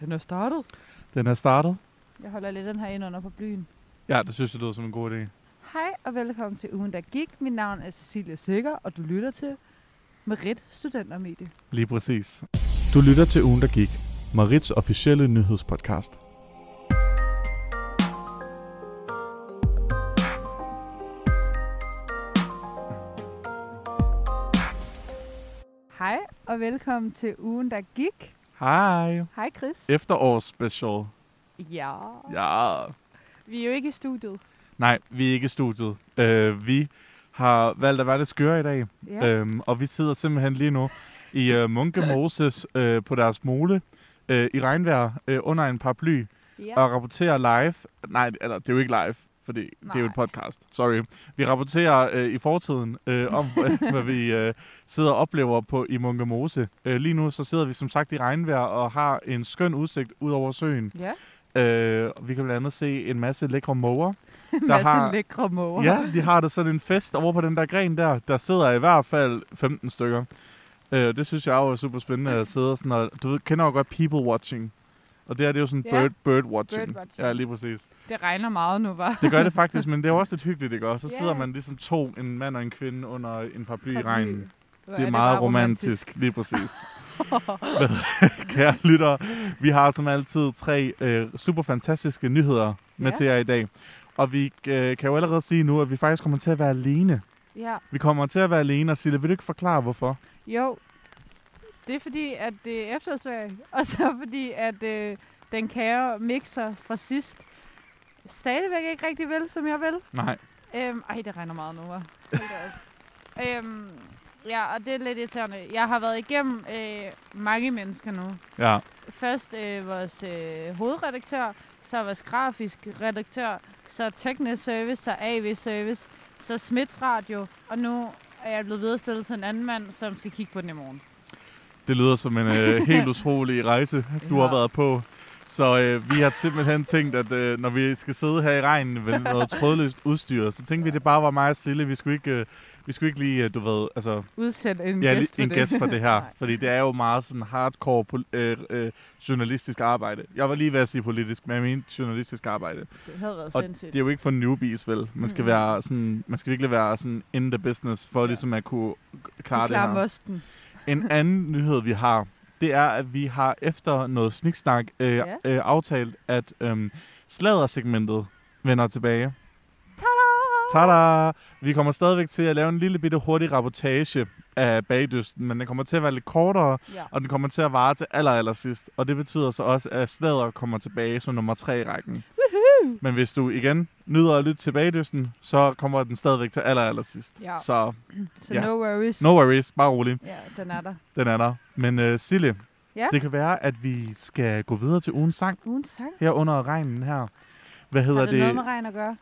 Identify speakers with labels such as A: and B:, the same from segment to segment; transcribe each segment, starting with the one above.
A: Den er startet.
B: Den er startet.
A: Jeg holder lidt den her ind under på blyen.
B: Ja, det synes jeg lyder som en god idé.
A: Hej og velkommen til ugen, der gik. Mit navn er Cecilia Sikker, og du lytter til Merit Studentermedie.
B: Lige præcis.
C: Du lytter til ugen, der gik. Marits officielle nyhedspodcast.
A: Hej og velkommen til ugen, der gik.
B: Hej.
A: Hej Chris.
B: Efterårsspecial.
A: Ja.
B: Ja.
A: Vi er jo ikke i studiet.
B: Nej, vi er ikke i studiet. Øh, vi har valgt at være lidt skøre i dag.
A: Ja. Øh.
B: Øhm, og vi sidder simpelthen lige nu i øh, Munke Moses øh, på deres mole øh, i regnvejr øh, under en paraply
A: ja.
B: og rapporterer live. Nej, eller det er jo ikke live, fordi Nej. det er jo
A: Nej.
B: et podcast. Sorry. Vi rapporterer øh, i fortiden øh, om, hvad vi øh, sidder og oplever på i Munke Mose. Øh, lige nu så sidder vi som sagt i regnvejr og har en skøn udsigt ud over søen.
A: ja.
B: Øh, og vi kan blandt andet se en masse lækre måger.
A: En
B: Der
A: masse
B: har-
A: har... lækre måger.
B: Ja, de har der sådan en fest over på den der gren der. Der sidder i hvert fald 15 stykker. Øh, det synes jeg jo er super spændende at sidde sådan og... Du ved, kender jo godt people watching. Og det her, det er jo sådan
A: Ja.
B: bird, bird, watching.
A: Bird watching.
B: Ja, lige præcis.
A: Det regner meget nu, var.
B: Det gør det faktisk, men det er jo også lidt hyggeligt, ikke? Og så
A: Ja.
B: sidder man ligesom to, en mand og en kvinde, under en paraply i
A: Paraply.
B: regnen. Det er meget romantisk. romantisk, lige præcis. Hvad- Kære lytter, vi har som altid tre øh, super fantastiske nyheder med
A: Ja.
B: til jer i dag. Og vi øh, kan jo allerede sige nu, at vi faktisk kommer til at være alene.
A: Ja.
B: Vi kommer til at være alene, og Sille, vil du ikke forklare, hvorfor?
A: Jo, det er fordi, at det er efterårsferie, og så fordi, at øh, den kære mixer fra sidst stadigvæk ikke rigtig vil, som jeg vil.
B: Nej.
A: Øhm, ej, det regner meget nu, hva'? Hold da op. øhm, ja, og det er lidt irriterende. Jeg har været igennem øh, mange mennesker nu.
B: Ja,
A: Først øh, vores øh, hovedredaktør, så vores grafisk redaktør, så Tekne Service, så AV Service, så Smits Radio, og nu er jeg blevet viderestillet til en anden mand, som skal kigge på den i morgen.
B: det lyder som en øh, helt utrolig rejse, du har
A: Ja.
B: været på. Så øh, vi har simpelthen tænkt, at øh, når vi skal sidde her i regnen med noget trådløst udstyr, så tænkte vi, at det bare var mig og Sille. Vi skulle ikke, øh, vi skulle ikke lige, øh, du ved, altså,
A: Udsend en
B: ja,
A: gæst
B: gæst
A: for
B: en
A: det.
B: gæst for det her.
A: Nej.
B: fordi det er jo meget sådan hardcore pol- øh, øh, journalistisk arbejde. Jeg var lige ved at sige politisk, men jeg mente journalistisk arbejde.
A: Det havde været
B: Og
A: sindssygt.
B: Det er jo ikke for newbies, vel? Man skal,
A: Mm.
B: være sådan, man skal virkelig være sådan in the business, for
A: Ja.
B: ligesom at kunne k- klare
A: klare
B: det her.
A: mosten.
B: En anden nyhed, vi har, det er, at vi har efter noget sniksnak øh,
A: Ja.
B: øh, aftalt, at øh, sladdersegmentet vender tilbage.
A: Tada!
B: Tada! Vi kommer stadigvæk til at lave en lille bitte hurtig rapportage af bagdysten, men den kommer til at være lidt kortere,
A: Ja.
B: og den kommer til at vare til aller, aller sidst. Og det betyder så også, at sladder kommer tilbage som nummer tre i rækken. Woohoo! Men hvis du igen nyder at lytte til bagdysten, så kommer den stadigvæk til aller, aller sidst.
A: Ja.
B: Så
A: Så
B: Ja.
A: no worries.
B: no worries, bare rolig.
A: Ja, den er der.
B: Den er der. Men uh, Sille,
A: Ja?
B: det kan være, at vi skal gå videre til ugens sang
A: Ugen sang.
B: her under regnen her. Hvad hedder
A: Har det,
B: det?
A: noget med regn at gøre?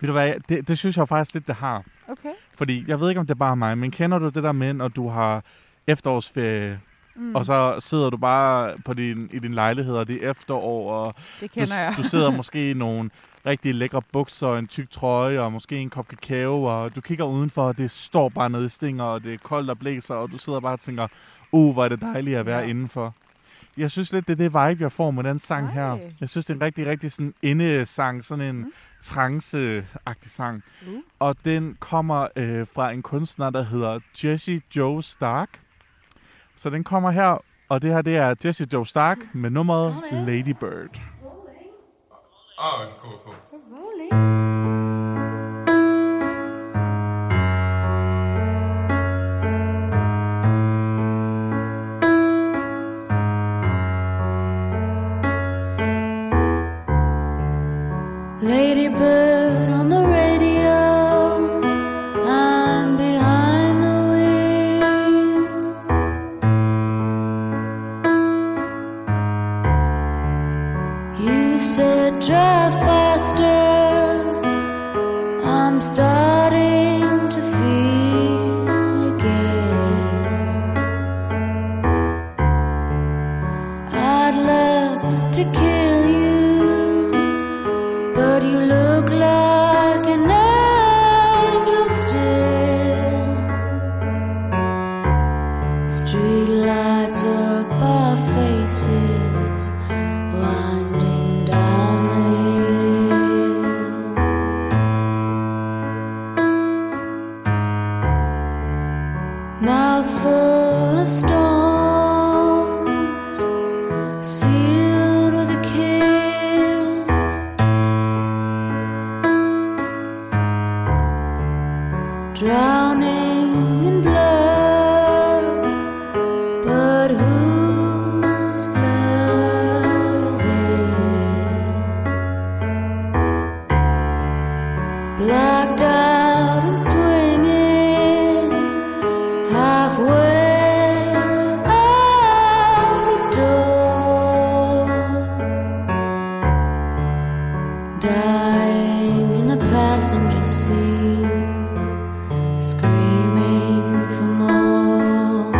B: Ved du hvad, det, det synes jeg faktisk lidt, det har.
A: Okay.
B: Fordi jeg ved ikke, om det er bare mig, men kender du det der med, når du har efterårsferie, mm. og så sidder du bare på din, i din lejlighed, og det er efterår, og
A: det
B: du,
A: kender jeg.
B: du sidder måske i nogle rigtig lækre bukser, og en tyk trøje, og måske en kop kakao, og du kigger udenfor, og det står bare nede i stinger, og det er koldt og blæser, og du sidder bare og tænker, uh, hvor er det dejligt at være
A: Ja.
B: ja. indenfor. Jeg synes lidt, det er det vibe, jeg får med den sang
A: Ej.
B: her. Jeg synes, det er en rigtig, rigtig sådan indesang, sådan en mm.
A: Mm.
B: trance-agtig sang.
A: Uh.
B: Og den kommer øh, fra en kunstner, der hedder Jesse Joe Stark. Så den kommer her, og det her det er Jesse Joe Stark med nummeret Lady Bird.
D: Oh, cool, cool.
E: Ladybird on the radio. I'm behind the wheel. You said drive faster. I'm starting to feel again. I'd love to kill you. But you look like an angel still. Street lights up our faces. sealed with a kiss. Drowning in blood, but whose blood is it? Blacked out and swinging halfway out the door, dying in the passenger seat, screaming for more.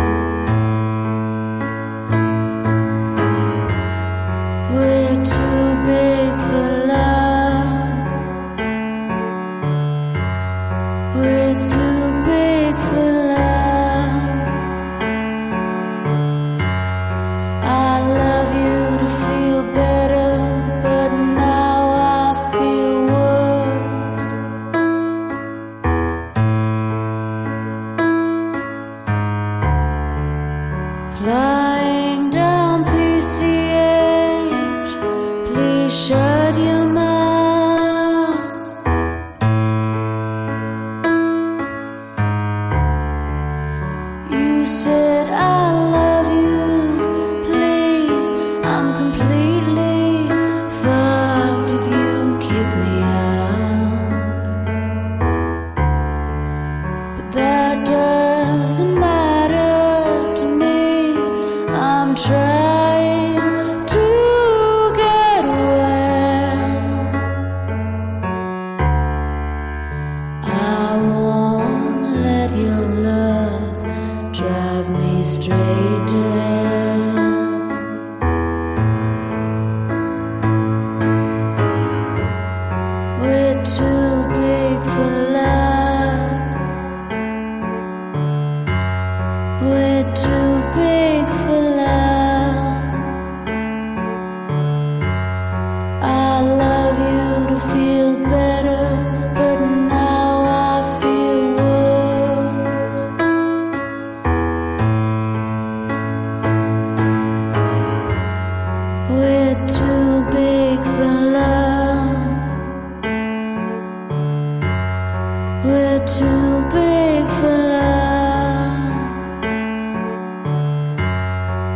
E: We're too big for love. We're too big for love. I love you to feel better, but now I feel worse. Flying down PCH, please shut your mouth. You said I love you, please. I'm completely fucked if you kick me out. But that doesn't matter to me. I'm trying to get well. I won't let your love drive me straight down. We're too big for love. We're too big for love. I love you to feel better, but now I feel worse. We're too big for love. We're too big for love.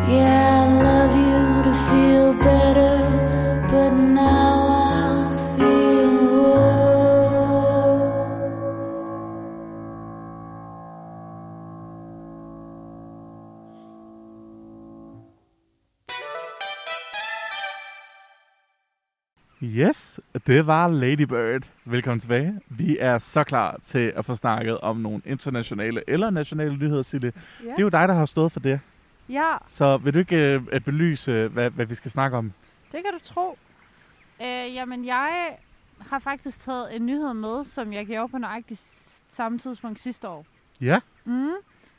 E: Yeah, I love you to feel better, but now I feel worse.
B: Yes, det var Lady Bird. Velkommen tilbage. Vi er så klar til at få snakket om nogle internationale eller nationale nyheder, Sille. Ja.
A: Ja.
B: Det er jo dig, der har stået for det.
A: ja,
B: Så vil du ikke øh, at belyse, hvad, hvad vi skal snakke om?
A: det kan du tro. Øh, jamen, jeg har faktisk taget en nyhed med, som jeg gjorde på nøjagtigt samme tidspunkt sidste år.
B: Ja,
A: Mm.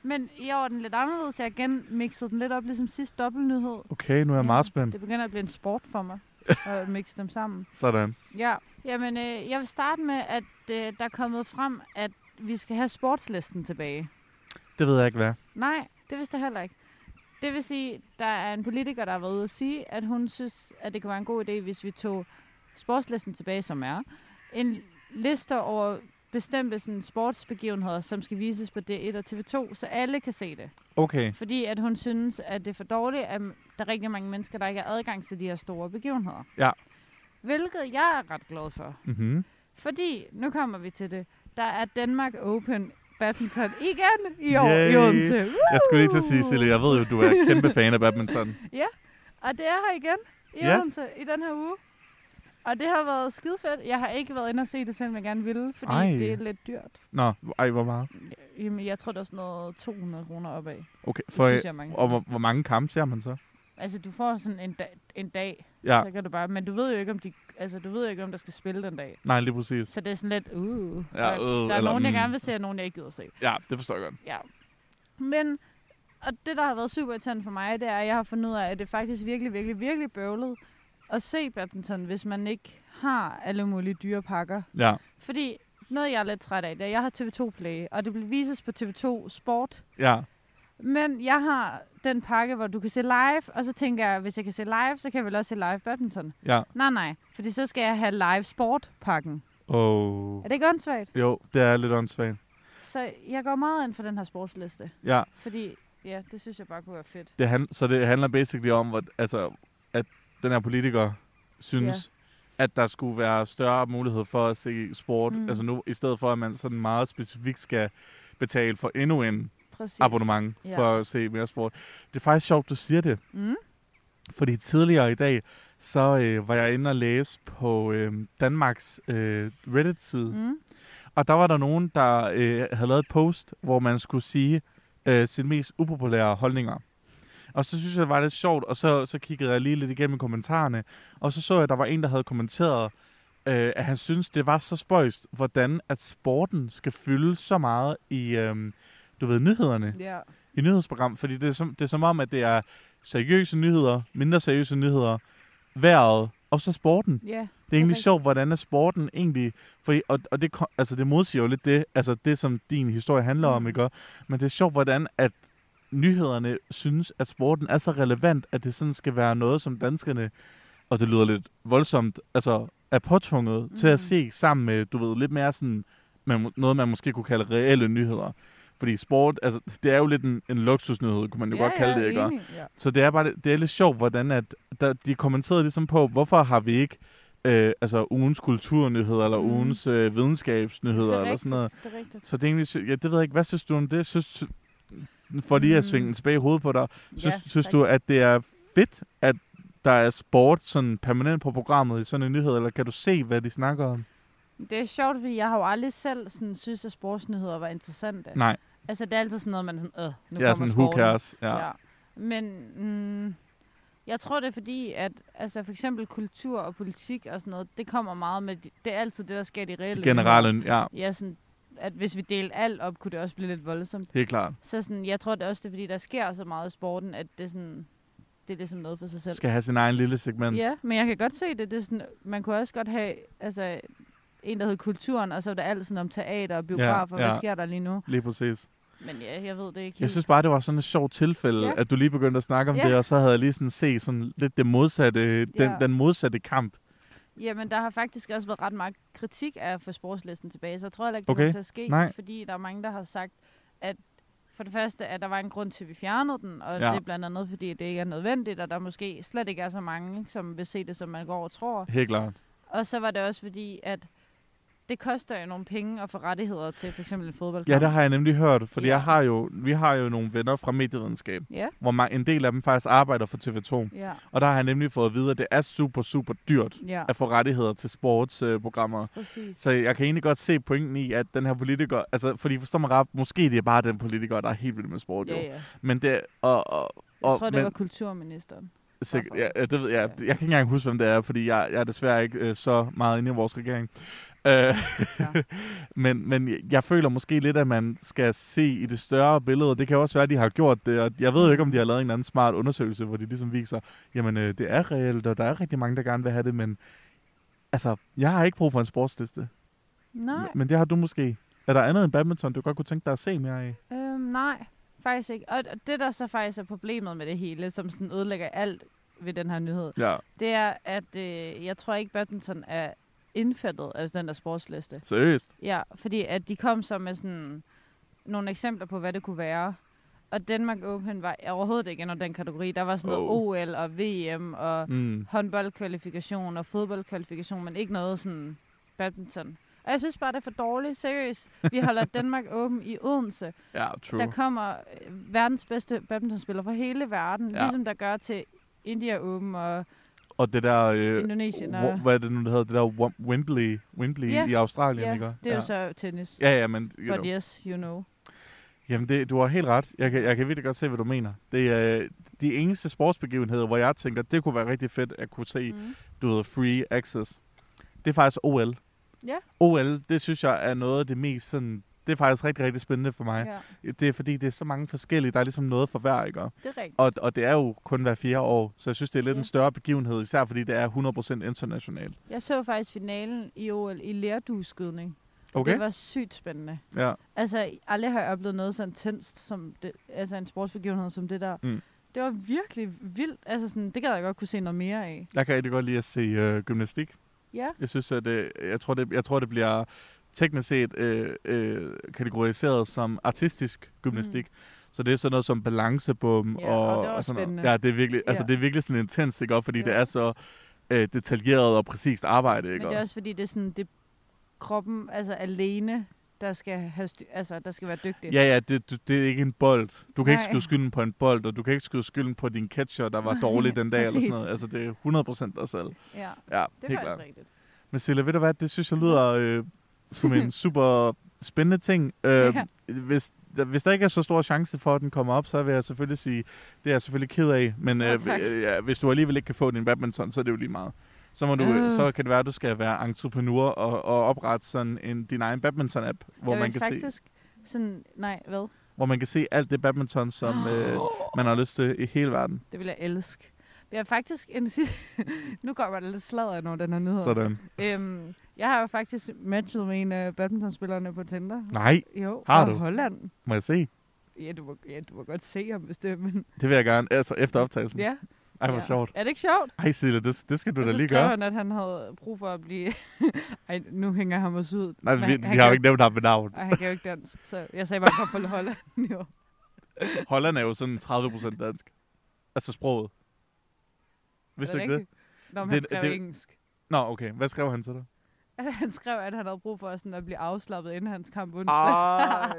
A: Men i år er den lidt anderledes. Jeg har genmixet den lidt op, ligesom sidste dobbeltnyhed.
B: okay, nu er jeg
A: Ja,
B: meget spændt.
A: Det begynder at blive en sport for mig at mixe dem sammen.
B: Sådan.
A: Ja, jamen øh, jeg vil starte med, at øh, der er kommet frem, at vi skal have sportslisten tilbage.
B: Det ved jeg ikke, hvad.
A: Nej, det vidste jeg heller ikke. Det vil sige, der er en politiker, der har været ude at sige, at hun synes, at det kunne være en god idé, hvis vi tog sportslisten tilbage, som er en liste over bestemte sådan, sportsbegivenheder, som skal vises på D1 og TV2, så alle kan se det.
B: Okay,
A: Fordi at hun synes, at det er for dårligt, at der er rigtig mange mennesker, der ikke har adgang til de her store begivenheder.
B: Ja.
A: Hvilket jeg er ret glad for.
B: mm-hmm.
A: Fordi, nu kommer vi til det, der er Danmark Open Badminton igen i år
B: Yay.
A: i Odense.
B: jeg skulle lige til at sige, Sille, jeg ved jo, du er kæmpe fan af badminton.
A: Og det er her igen i
B: Ja.
A: yeah. Odense i den her uge. Og det har været skide fedt. Jeg har ikke været inde og se det, selvom jeg gerne ville, fordi
B: Ej.
A: Ej. det er lidt dyrt.
B: Nå, ej, hvor meget.
A: Jamen, jeg tror, det er sådan noget 200 kroner opad. Det
B: Okay, for,
A: For, synes jeg er mange.
B: og hvor, hvor mange kampe ser man så?
A: Altså, du får sådan en, dag, en dag,
B: Ja,
A: så kan du bare... Men du ved jo ikke, om de, altså, du ved jo ikke, om der skal spille den dag.
B: nej, lige præcis.
A: Så det er sådan lidt... Uh,
B: Ja,
A: der,
B: øh,
A: der er
B: eller
A: nogen, jeg
B: mm.
A: gerne vil se, og nogen, jeg ikke gider se.
B: Ja, det forstår jeg godt.
A: Ja. Men, og det, der har været super irriterende for mig, det er, at jeg har fundet ud af, at det faktisk virkelig, virkelig, virkelig bøvlet at se badminton, hvis man ikke har alle mulige dyre pakker.
B: Ja,
A: Fordi noget, jeg er lidt træt af, det er, at jeg har TV2 Play, og det vil vises på TV2 Sport.
B: ja,
A: Men jeg har den pakke, hvor du kan se live, og så tænker jeg, hvis jeg kan se live, så kan jeg vel også se live badminton.
B: Ja.
A: Nej, nej, fordi så skal jeg have live sport-pakken.
B: Oh.
A: Er det ikke åndssvagt?
B: Jo, det er lidt åndssvagt.
A: Så jeg går meget ind for den her sportsliste,
B: Ja,
A: fordi ja, det synes jeg bare kunne være fedt.
B: det han, så det handler basically om, at, altså, at den her politiker synes, at der skulle være større mulighed for at se sport.
A: Mm.
B: Mm. Altså nu, i stedet for, at man sådan meget specifikt skal betale for endnu en
A: Præcis.
B: abonnement
A: Ja.
B: for at se mere sport. Det er faktisk sjovt, du siger det.
A: Mm.
B: Fordi tidligere i dag, så øh, var jeg inde og læse på øh, Danmarks øh, Reddit-side, mm.
A: Mm.
B: Og der var der nogen, der øh, havde lavet et post, hvor man skulle sige øh, sine mest upopulære holdninger. Og så synes jeg, det var lidt sjovt, og så, så kiggede jeg lige lidt igennem kommentarerne, og så så jeg, at der var en, der havde kommenteret, øh, at han synes det var så spøjst, hvordan at sporten skal fylde så meget i, øh, du ved, nyhederne,
A: Ja.
B: i nyhedsprogram, fordi det er, som, det er som om, at det er seriøse nyheder, mindre seriøse nyheder, vejret, og så sporten.
A: ja.
B: Det er egentlig
A: rigtigt.
B: sjovt, hvordan er sporten egentlig... For, og, og det, ko- altså, det modsiger jo lidt det, altså det, som din historie handler om,
A: Mm.
B: ikke? også? Men det er sjovt, hvordan at nyhederne synes, at sporten er så relevant, at det sådan skal være noget, som danskerne, og det lyder lidt voldsomt, altså er påtvunget mm. til
A: Mm.
B: at se sammen med, du ved, lidt mere sådan, man, må- noget man måske kunne kalde reelle nyheder. Fordi sport, altså, det er jo lidt en, en luksusnyhed, kunne man jo
A: ja,
B: godt kalde
A: ja,
B: det, ikke? også?
A: enig. Ja.
B: Så det er bare det er lidt sjovt, hvordan at der, de kommenterede ligesom på, hvorfor har vi ikke øh, altså ugens kulturnyheder eller
A: Mm.
B: mm. ugens øh,
A: Det
B: videnskabsnyheder
A: er
B: eller
A: rigtigt,
B: sådan noget.
A: det er rigtigt.
B: Så det er egentlig, sy- ja, det ved jeg ikke, hvad synes du om det? Synes, for lige at
A: Mm.
B: svinge den tilbage i hovedet på dig, synes,
A: Ja,
B: ja, synes
A: tak.
B: du, at det er fedt, at der er sport sådan permanent på programmet i sådan en nyhed, eller kan du se, hvad de snakker om?
A: Det er sjovt, fordi jeg har jo aldrig selv sådan, synes, at sportsnyheder var interessante.
B: Nej,
A: Altså, det er altid sådan noget, man er sådan, øh, nu
B: jeg
A: kommer
B: er sådan, who
A: sporten.
B: cares? Ja.
A: Ja. Men mm, jeg tror, det er fordi, at altså, for eksempel kultur og politik og sådan noget, det kommer meget med, de, det er altid det, der sker i de reelle
B: Det generelle, ja,
A: nyheder. Ja, sådan, at hvis vi delte alt op, kunne det også blive lidt voldsomt.
B: helt klart.
A: Så sådan, jeg tror det er også, det er, fordi der sker så meget i sporten, at det er sådan, det er ligesom noget for sig selv.
B: Skal have sin egen lille segment.
A: Ja, men jeg kan godt se det. det er sådan, man kunne også godt have altså, en, der hed Kulturen, og så var der alt sådan om teater og biografer. Ja, ja.
B: ja.
A: Hvad sker der lige nu?
B: Lige præcis.
A: Men ja, jeg ved det ikke
B: Jeg
A: helt.
B: synes bare, det var sådan et sjovt tilfælde,
A: Ja.
B: ja. at du lige begyndte at snakke om
A: Ja.
B: ja. det, og så havde jeg lige sådan set sådan lidt det modsatte, øh, den,
A: Ja.
B: den modsatte kamp.
A: Jamen, der har faktisk også været ret meget kritik af at få sportslisten tilbage, så jeg tror heller ikke, det
B: Okay.
A: kommer til at ske,
B: Nej.
A: fordi der er mange, der har sagt, at for det første, at der var en grund til, at vi fjernede den, og
B: Ja.
A: det er blandt andet, fordi det ikke er nødvendigt, og der måske slet ikke er så mange, som vil se det, som man går og tror.
B: Helt klart.
A: Og så var det også fordi, at det koster jo nogle penge at få rettigheder til for eksempel en fodboldkamp.
B: Ja, det har jeg nemlig hørt, fordi
A: Ja.
B: ja. jeg har jo, vi har jo nogle venner fra medievidenskab,
A: Ja,
B: hvor man, en del af dem faktisk arbejder for TV2.
A: ja,
B: Og der har jeg nemlig fået at vide, at det er super, super dyrt
A: ja.
B: at få rettigheder til sportsprogrammer.
A: Præcis.
B: Så jeg kan egentlig godt se pointen i, at den her politiker, altså fordi forstår mig ret, måske det er bare den politiker, der er helt vild med sport,
A: ja,
B: jo.
A: ja.
B: Men det, og, og,
A: Jeg
B: og,
A: tror, det
B: men,
A: var kulturministeren.
B: Sikkert,
A: Hvorfor?
B: ja, ja, det ved jeg. Jeg
A: Ja.
B: kan ikke engang huske, hvem det er, fordi jeg, jeg er desværre ikke øh, så meget inde i vores regering. Øh, ja. men, men jeg føler måske lidt, at man skal se i det større billede. Det kan jo også være, at de har gjort det. Og jeg ved jo ikke, om de har lavet en eller anden smart undersøgelse, hvor de ligesom viser, jamen øh, det er reelt, og der er rigtig mange, der gerne vil have det, men altså, jeg har ikke brug for en sportsliste.
A: Nej,
B: Men- Men det har du måske. Er der andet end badminton, du godt kunne tænke dig at se mere af?
A: øhm, nej, faktisk ikke. Og og det, der så faktisk er problemet med det hele, som sådan ødelægger alt ved den her nyhed,
B: Ja,
A: det er, at øh, jeg tror ikke, badminton er indfattet af den der sportsliste.
B: seriøst.
A: Ja, fordi at de kom så med sådan nogle eksempler på, hvad det kunne være. Og Danmark Open var overhovedet ikke under den kategori. Der var sådan noget
B: Oh.
A: OL og VM og
B: Mm.
A: håndboldkvalifikation og fodboldkvalifikation, men ikke noget sådan badminton. Og jeg synes bare, det er for dårligt. Seriøst. Vi holder Danmark åben i Odense.
B: Ja,
A: Der
B: true.
A: kommer øh, verdens bedste badmintonspiller fra hele verden, ja.
B: Ja.
A: ligesom der gør til India Open og
B: Og det der... Øh,
A: Indonesien. Og,
B: Wo- Hvad er det nu, det hedder? Det der Wom- Wembley, Wembley
A: Ja,
B: i Australien,
A: ja,
B: ikke?
A: det er jo så tennis.
B: Ja, ja, men you
A: But
B: know.
A: yes, you know.
B: Jamen, det, du har helt ret. Jeg kan, jeg kan virkelig godt se, hvad du mener. Det er øh, de eneste sportsbegivenheder, hvor jeg tænker, det kunne være rigtig fedt at kunne se, mm.
A: Mm.
B: du ved, free access. Det er faktisk OL.
A: Ja.
B: OL, det synes jeg er noget af det mest sådan... Det er faktisk rigtig, rigtig spændende for mig.
A: Ja,
B: Ja. Det er fordi, det er så mange forskellige. Der er ligesom noget for hver, ikke?
A: det er rigtigt.
B: Og, og det er jo kun hver fjerde år, så jeg synes, det er lidt
A: Ja.
B: ja. en større begivenhed, især fordi det er 100% internationalt.
A: Jeg så faktisk finalen i OL i lærdueskydning.
B: Okay.
A: Det var sygt spændende.
B: Ja.
A: Altså, aldrig har jeg oplevet noget så intenst som det, altså en sportsbegivenhed som det der.
B: Mm.
A: Det var virkelig vildt. Altså, sådan, det gad jeg godt kunne se noget mere af.
B: Jeg kan rigtig godt lide at se øh, gymnastik.
A: Ja.
B: Jeg synes, at øh, jeg, tror, det, jeg tror, det bliver teknisk set øh, øh, kategoriseret som artistisk gymnastik. Mm. Så det er sådan noget som balancebom
A: Ja,
B: og,
A: og det er også
B: sådan noget.
A: spændende.
B: Ja, det er virkelig, altså,
A: Ja.
B: det er virkelig sådan intenst, ikke? Og fordi
A: Ja.
B: det er så øh, detaljeret og præcist arbejde,
A: Men
B: ikke?
A: det er
B: Og-
A: også fordi, det er sådan, det er kroppen altså alene, der skal, have styr, altså, der skal være dygtig.
B: Ja, ja, det, du- det er ikke en bold. Du kan ikke
A: Nej.
B: skyde skylden på en bold, og du kan ikke skyde skylden på din catcher, der var dårlig den dag, eller sådan
A: Præcis.
B: noget. Altså, det er 100% dig selv.
A: ja
B: Ja,
A: det er faktisk
B: helt klart.
A: rigtigt.
B: Men Silla, ved du hvad, det synes jeg lyder øh, som en super spændende ting. Øh,
A: Ja.
B: hvis, der, hvis der ikke er så stor chance for, at den kommer op, så vil jeg selvfølgelig sige, det er jeg selvfølgelig ked af. Men
A: Ja,
B: øh,
A: tak.
B: øh, ja, hvis du alligevel ikke kan få din badminton, så er det jo lige meget. Så, må du,
A: Øh.
B: så kan det være, at du skal være entreprenør og, og oprette sådan en, din egen badminton-app, hvor
A: jeg
B: man,
A: vil
B: kan se,
A: faktisk sådan, nej, hvad?
B: hvor man kan se alt det badminton, som
A: Ah.
B: øh, man har lyst til i hele verden.
A: Det vil jeg elske. Jeg har faktisk en sidste... nu går jeg lidt sladder over den her nyhed.
B: Sådan.
A: Øhm, jeg har jo faktisk matchet med en af badmintonspillerne på Tinder.
B: Nej,
A: Jo,
B: Har
A: fra
B: du?
A: Holland.
B: må jeg se?
A: Ja du, må, ja, du må godt se ham, hvis det er, men...
B: Det vil jeg gerne. Altså, efter optagelsen.
A: Ja,
B: Ej, hvor
A: ja.
B: sjovt.
A: Er det ikke sjovt?
B: Ej, Silla, det, det skal du
A: Og
B: da
A: så
B: lige
A: skrev
B: gøre.
A: han, at han havde brug for at blive... Ej, nu hænger han os ud.
B: Nej,
A: Men
B: vi,
A: han
B: vi
A: kan
B: har jo ikke nævnt ham ved navn.
A: Og han kan jo ikke dansk, så jeg sagde bare, kom fra Holland. Jo.
B: Holland er jo sådan 30% dansk. Altså sproget. Vidste
A: Er
B: du ikke det?
A: rigtigt? Nå, men han
B: Det-
A: skrev
B: det-
A: engelsk.
B: Nå, okay. Hvad skrev han til dig?
A: Han skrev, at han havde brug for sådan at blive afslappet inden hans kamp onsdag.
B: Ej.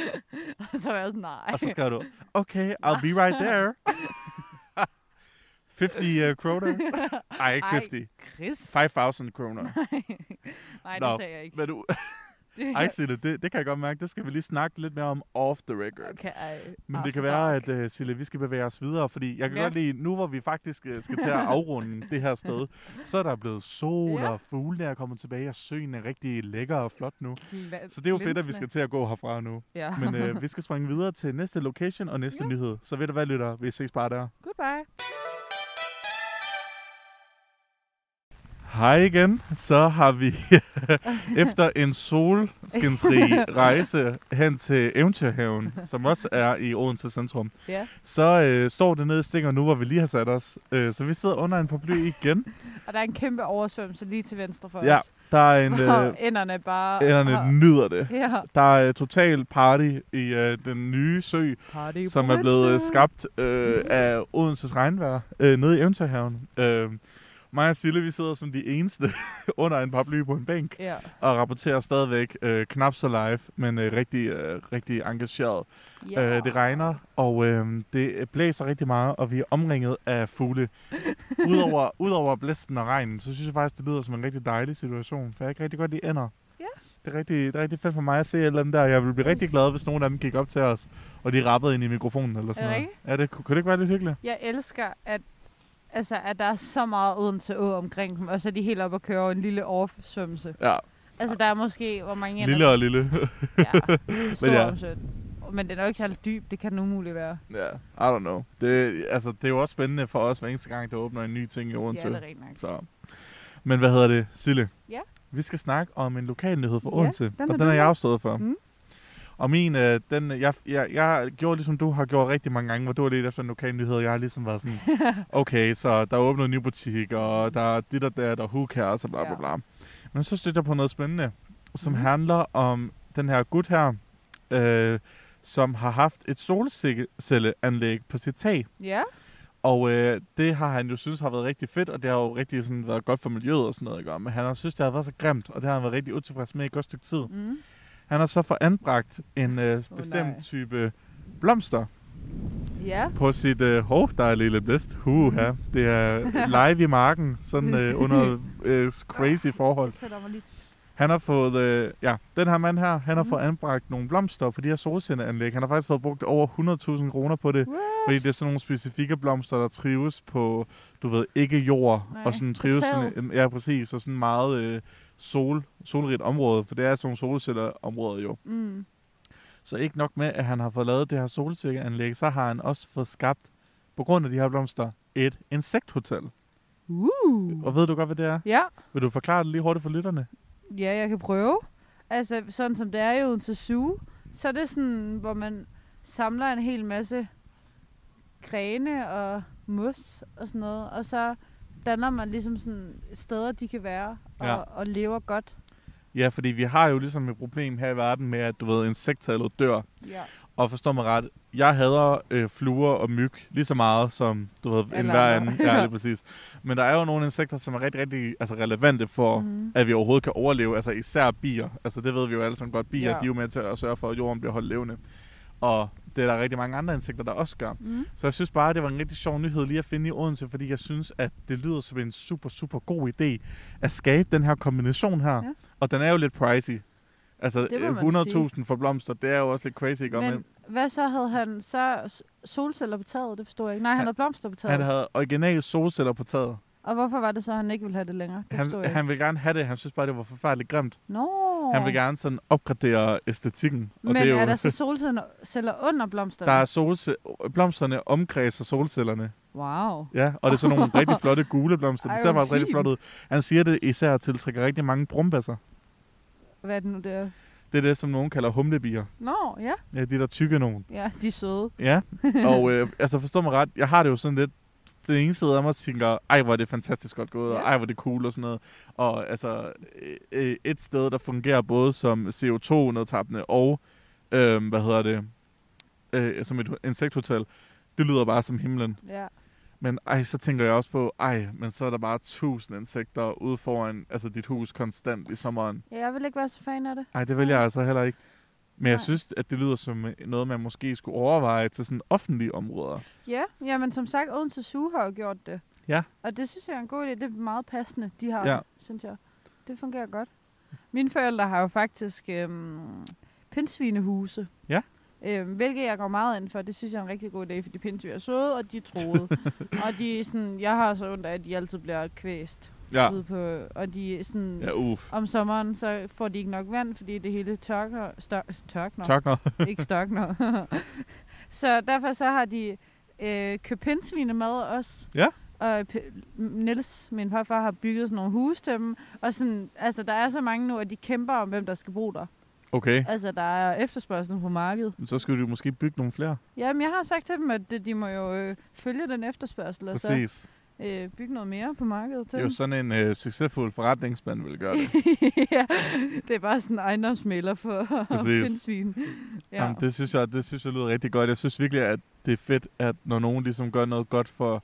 A: Og så var jeg sådan, nej.
B: Og så skrev du, okay, I'll be right there. 50 uh, kroner? Ej, ikke
A: Ej.
B: 50.
A: Chris?
B: 5.000 kroner.
A: Nej,
B: Nå,
A: det sagde jeg ikke.
B: Men du,
A: Det-
B: ej, Sille, det, det kan jeg godt mærke. Det skal vi lige snakke lidt mere om off the record.
A: Okay, ej. Ah,
B: Men det kan
A: After
B: være,
A: dark.
B: at uh, Sille, vi skal bevæge os videre, fordi jeg kan ja.
A: Ja.
B: godt lide, nu hvor vi faktisk uh, skal til at afrunde det her sted, så er der blevet sol,
A: Ja.
B: og fuglene er kommet tilbage, og søen er rigtig lækker og flot nu.
A: Gla-
B: Så det er jo fedt, at vi
A: glinsende.
B: skal til at gå herfra nu.
A: Ja.
B: Men øh, vi skal springe videre til næste location og næste
A: Ja.
B: nyhed. Så ved du hvad, lytter? Vi ses bare der.
A: Goodbye.
B: Hej igen. Så har vi efter en solskinsrig rejse hen til Eventyrhaven, som også er i Odense Centrum,
A: Ja.
B: så øh, står det nede i stinger nu, hvor vi lige har sat os. Øh, så vi sidder under en paraply igen.
A: Og der er en kæmpe oversvømmelse lige til venstre for
B: Ja,
A: os.
B: Der er en...
A: Hvor
B: Øh,
A: ænderne bare... har-
B: Ænderne nyder det.
A: Ja.
B: Der er øh, total party i øh, den nye sø,
A: Party
B: som er blevet øh, skabt øh, af Odenses regnvejr øh, nede i Eventyrhaven. Øh, mig og Sille, vi sidder som de eneste under en paraply på en bænk
A: Ja.
B: og rapporterer stadigvæk øh, knap så live, men øh, rigtig, øh, rigtig engageret.
A: ja.
B: Yeah. Øh, det regner, og øh, det blæser rigtig meget, og vi er omringet af fugle. Udover, udover blæsten og regnen, så synes jeg faktisk, det lyder som en rigtig dejlig situation, for jeg kan rigtig godt lide ender.
A: Ja.
B: Det er, rigtig, det er rigtig fedt for mig at se et eller andet der. Jeg ville blive rigtig glad, hvis nogen af dem gik op til os, og de rappede ind i mikrofonen eller sådan noget.
A: rigtigt?
B: Ja, det kunne, kunne det ikke være lidt hyggeligt?
A: Jeg elsker, at, altså, at der er så meget Odense Å omkring dem, og så er de helt oppe og køre over en lille oversvømmelse.
B: Ja,
A: Altså, der er måske, hvor mange
B: Ah. lille og lille.
A: Ja, stor
B: Men
A: men,
B: ja.
A: ja. men den er jo ikke særlig dyb, det kan den umuligt være.
B: ja, I don't know. Det, altså, det er jo også spændende for os, hver eneste gang, der åbner en ny ting i
A: Ja,
B: Odense.
A: det er rent nok.
B: Så. Men hvad hedder det, Sille?
A: Ja.
B: Vi skal snakke om en lokal nyhed fra
A: Ja,
B: Odense,
A: den
B: og
A: er
B: den har
A: du
B: jeg
A: med.
B: også stået for.
A: Mm.
B: Og min, øh, den, jeg, jeg, jeg gjorde ligesom du har gjort rigtig mange gange, hvor du har lidt efter en lokal nyhed, og jeg har ligesom været sådan, okay, så der er åbnet en ny butik, og der er dit og der, der er hook her, og så bla bla
A: Ja.
B: bla. Men så støtter jeg på noget spændende, som
A: Mhm.
B: handler om den her gut her, øh, som har haft et solcelleanlæg på sit tag.
A: Ja,
B: Og øh, det har han jo synes har været rigtig fedt, og det har jo rigtig sådan været godt for miljøet og sådan noget, ikke? men han har synes, det har været så grimt, og det har han været rigtig utilfreds med i et godt stykke tid.
A: mm.
B: Han har så fået anbragt en øh,
A: Åh,
B: bestemt
A: nej.
B: type blomster
A: ja.
B: på sit øh, hov, der er en lille blæst. Huha, det er live i marken, sådan øh, under øh, crazy forhold.
A: Jeg sætter mig lige
B: Han har fået, øh, ja, den her mand her, han har
A: Mhm.
B: fået anbragt nogle blomster på de her solcelleanlæg. Han har faktisk fået brugt over 100.000 kroner på det.
A: What?
B: Fordi det er sådan nogle specifikke blomster, der trives på, du ved, ikke jord.
A: Nej,
B: og sådan
A: på
B: trives
A: taget.
B: sådan, ja, præcis, og sådan meget øh, sol, solrigt område, for det er sådan nogle solcellerområder jo.
A: Mm.
B: Så ikke nok med, at han har fået lavet det her solcelleanlæg, så har han også fået skabt, på grund af de her blomster, et insekthotel.
A: Uh.
B: Og ved du godt, hvad det er?
A: Ja.
B: Vil du forklare det lige hurtigt for lytterne?
A: ja, jeg kan prøve. altså sådan som det er i Odense Zoo, så er det sådan, hvor man samler en hel masse grene og mos og sådan noget, og så danner man ligesom sådan steder, de kan være og,
B: Ja.
A: og lever godt.
B: Ja, fordi vi har jo ligesom et problem her i verden med, at du ved, insekter dør.
A: Ja.
B: Og forstår mig ret, jeg hader øh, fluer og myg lige så meget som, du ved, en
A: Alle
B: hver
A: andre.
B: anden. Ja, lige præcis. Men der er jo nogle insekter, som er rigtig, rigtig altså relevante for,
A: Mm. Mhm.
B: mm-hmm. at vi overhovedet kan overleve. Altså især bier. Altså det ved vi jo alle sammen godt. Bier,
A: Ja.
B: ja. de er jo med til at sørge for, at jorden bliver holdt levende. Og det er der rigtig mange andre insekter, der også gør.
A: Mm.
B: Så jeg synes bare, det var en rigtig sjov nyhed lige at finde i Odense, fordi jeg synes, at det lyder som en super, super god idé at skabe den her kombination her.
A: Ja.
B: Ja. Og den er jo lidt pricey. Altså
A: Det må man
B: øh, 100.000 for blomster, det er jo også lidt crazy. Ikke? Men,
A: Men hvad så havde han så s- solceller på taget? Det forstod jeg ikke. Nej, han,
B: Han-
A: havde blomster på taget.
B: han havde originale solceller på taget.
A: Og hvorfor var det så, at han ikke ville have det længere? Det forstod
B: Han,
A: jeg ikke.
B: han ville gerne have det, han synes bare, det var forfærdeligt grimt.
A: Nå.
B: Oh. Han vil gerne sådan opgradere æstetikken. Og
A: Men
B: det er, jo,
A: er der så solceller under blomsterne?
B: der er solce- blomsterne omkredser solcellerne.
A: Wow.
B: Ja, og det er sådan nogle rigtig flotte gule blomster.
A: Ej,
B: Det
A: hvor
B: ser faktisk rigtig
A: fint.
B: flot ud. Han siger, det især tiltrækker rigtig mange brumbasser.
A: Hvad er det nu, det er?
B: Det er det, som nogen kalder humlebier.
A: Nå, ja.
B: Ja, de der tykke nogen.
A: Ja, de er søde.
B: Ja, og øh, altså forstå mig ret, jeg har det jo sådan lidt, den ene side af mig tænker, ej hvor er det fantastisk godt gået,
A: Ja.
B: og ej hvor er det cool og sådan noget. Og altså øh, øh, et sted, der fungerer både som CO2-nedtappende og, øh, hvad hedder det, øh, som et insekthotel, det lyder bare som himlen.
A: Ja.
B: Men ej, så tænker jeg også på, ej, men så er der bare tusind insekter ude foran altså dit hus konstant i sommeren.
A: ja. Jeg vil ikke være så fan af det.
B: Nej, det vil jeg altså heller ikke. Men jeg
A: Nej.
B: synes, at det lyder som øh, noget, man måske skulle overveje til sådan offentlige områder.
A: Ja, ja men som sagt, Odense Zoo har jo gjort det.
B: Ja.
A: Og det synes jeg er en god idé. Det er meget passende, de har, ja.
B: Ja.
A: synes jeg. Det fungerer godt. Mine forældre har jo faktisk øhm, pindsvinehuse.
B: Ja.
A: Øhm, hvilket jeg går meget ind for. Det synes jeg er en rigtig god idé, fordi pindsvin er søde, og de er troede. og de er sådan, jeg har så ondt af, at de altid bliver kvæst.
B: Ja.
A: Ude på, og de er sådan,
B: Ja, uff.
A: om sommeren, så får de ikke nok vand, fordi det hele tørker, stør, tørkner,
B: Tørkner.
A: ikke størkner. så derfor så har de øh, købt pindsvine med os.
B: Ja.
A: Og øh, p- Niels, min farfar, har bygget sådan nogle huse til dem. Og sådan, altså, der er så mange nu, at de kæmper om, hvem der skal bo der.
B: Okay,
A: Altså, der er efterspørgsel på markedet.
B: så skulle du måske bygge nogle flere.
A: Jamen, jeg har sagt til dem, at øh, de må jo øh, følge den efterspørgsel, og
B: Præcis.
A: så øh, bygge noget mere på markedet til
B: Det er jo
A: dem.
B: sådan en øh, succesfuld forretningsmand vil gøre det.
A: ja, det er bare sådan en ejendomsmælder for
B: Præcis.
A: pindsvin. Ja.
B: Jamen, det, synes jeg, det synes jeg lyder rigtig godt. Jeg synes virkelig, at det er fedt, at når nogen ligesom gør noget godt for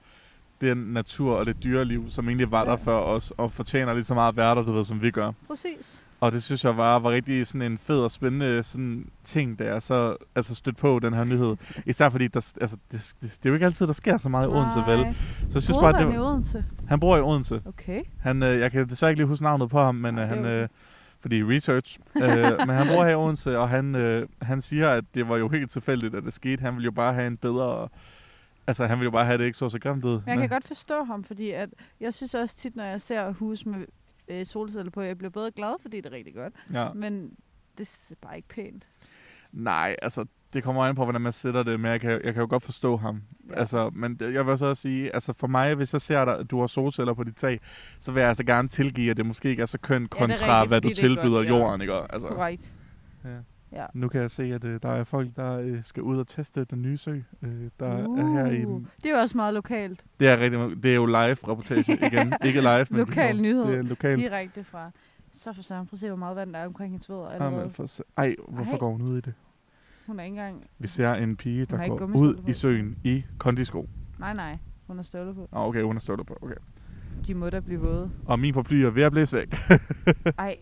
B: den natur og det dyreliv, som egentlig var der
A: Ja.
B: før os, og fortjener lige så meget værter, du ved, som vi gør.
A: Præcis.
B: Og det synes jeg var, var rigtig sådan en fed og spændende sådan ting, der jeg så altså stødt på den her nyhed. Især fordi, der, altså, det, det, det, er jo ikke altid, der sker så meget i Odense, vel? Så jeg synes bare, det,
A: i
B: var-
A: Odense.
B: han bor i Odense.
A: Okay.
B: Han, øh, jeg kan desværre ikke lige huske navnet på ham, men
A: Nej,
B: øh,
A: det er
B: han,
A: okay.
B: øh, fordi research, øh, men han bor her i Odense, og han, øh, han siger, at det var jo helt tilfældigt, at det skete. Han ville jo bare have en bedre, altså han ville jo bare have det ikke så så grimt ud.
A: Men jeg
B: Men-
A: kan godt forstå ham, fordi at jeg synes også tit, når jeg ser hus med øh, solceller på, jeg bliver både glad, fordi det er rigtig godt,
B: Ja.
A: men det er bare ikke pænt.
B: Nej, altså det kommer an på, hvordan man sætter det, men jeg kan, jeg kan jo godt forstå ham.
A: Ja.
B: Ja. Altså, men det- jeg vil så også sige, altså for mig, hvis jeg ser dig, at du har solceller på dit tag, så vil jeg altså gerne tilgive, at det måske ikke er så
A: Ja,
B: kønt
A: det er
B: kontra,
A: rigtigt,
B: hvad
A: fordi
B: du
A: det er godt,
B: tilbyder
A: ja.
B: jorden, ikke? Altså,
A: Korrekt.
B: Nu kan jeg se, at øh, der er folk, der øh, skal ud og teste den nye sø, øh, der uh. er her i...
A: Uh, Det er jo også meget lokalt,
B: Det er, rigtig, det er jo live-reportage igen. Ikke live, men...
A: Lokal nyhed.
B: Det er lokal.
A: direkte fra. Så for søren, prøv at se, hvor meget vand der er omkring hendes vødder
B: Jamen,
A: allerede.
B: for, se- ej, hvorfor
A: Ej.
B: Ej. går hun ud i det?
A: Hun er ikke engang...
B: Vi ser en pige,
A: har
B: der
A: ikke
B: går
A: gummistøvler
B: ud
A: på.
B: i søen i kondisko.
A: Nej, nej. Hun har støvler på.
B: Ah, okay, hun har støvler på. Okay.
A: De må da blive våde.
B: Og min paraply er ved at blæse væk.
A: Ej.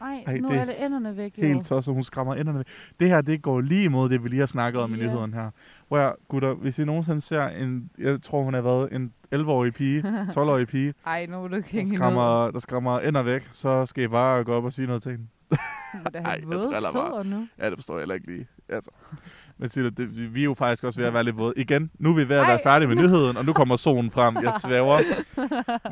A: Ej,
B: Ej,
A: nu
B: det
A: er
B: er
A: alle enderne væk, jo.
B: Helt tosset, hun skræmmer enderne væk. Det her, det går lige imod det, vi lige har snakket om i
A: Ja.
B: nyhederne her. Hvor jeg, gutter, hvis I nogensinde ser en... Jeg tror, hun har været en 11-årig pige, 12-årig pige,
A: Ej, nu må du ikke
B: der
A: hænge hende ud.
B: skræmmer, der skræmmer ender væk, så skal I bare gå op og sige noget til hende.
A: Hun må da
B: Ej,
A: have
B: jeg
A: våde
B: driller bare.
A: fødder nu.
B: Ja, det forstår jeg heller ikke lige. Altså. Men Silla, det, vi- vi er jo faktisk også ved at være lidt våde. Igen, nu er vi ved at
A: Ej.
B: være færdige med nyheden, og nu kommer solen frem. Jeg svæver.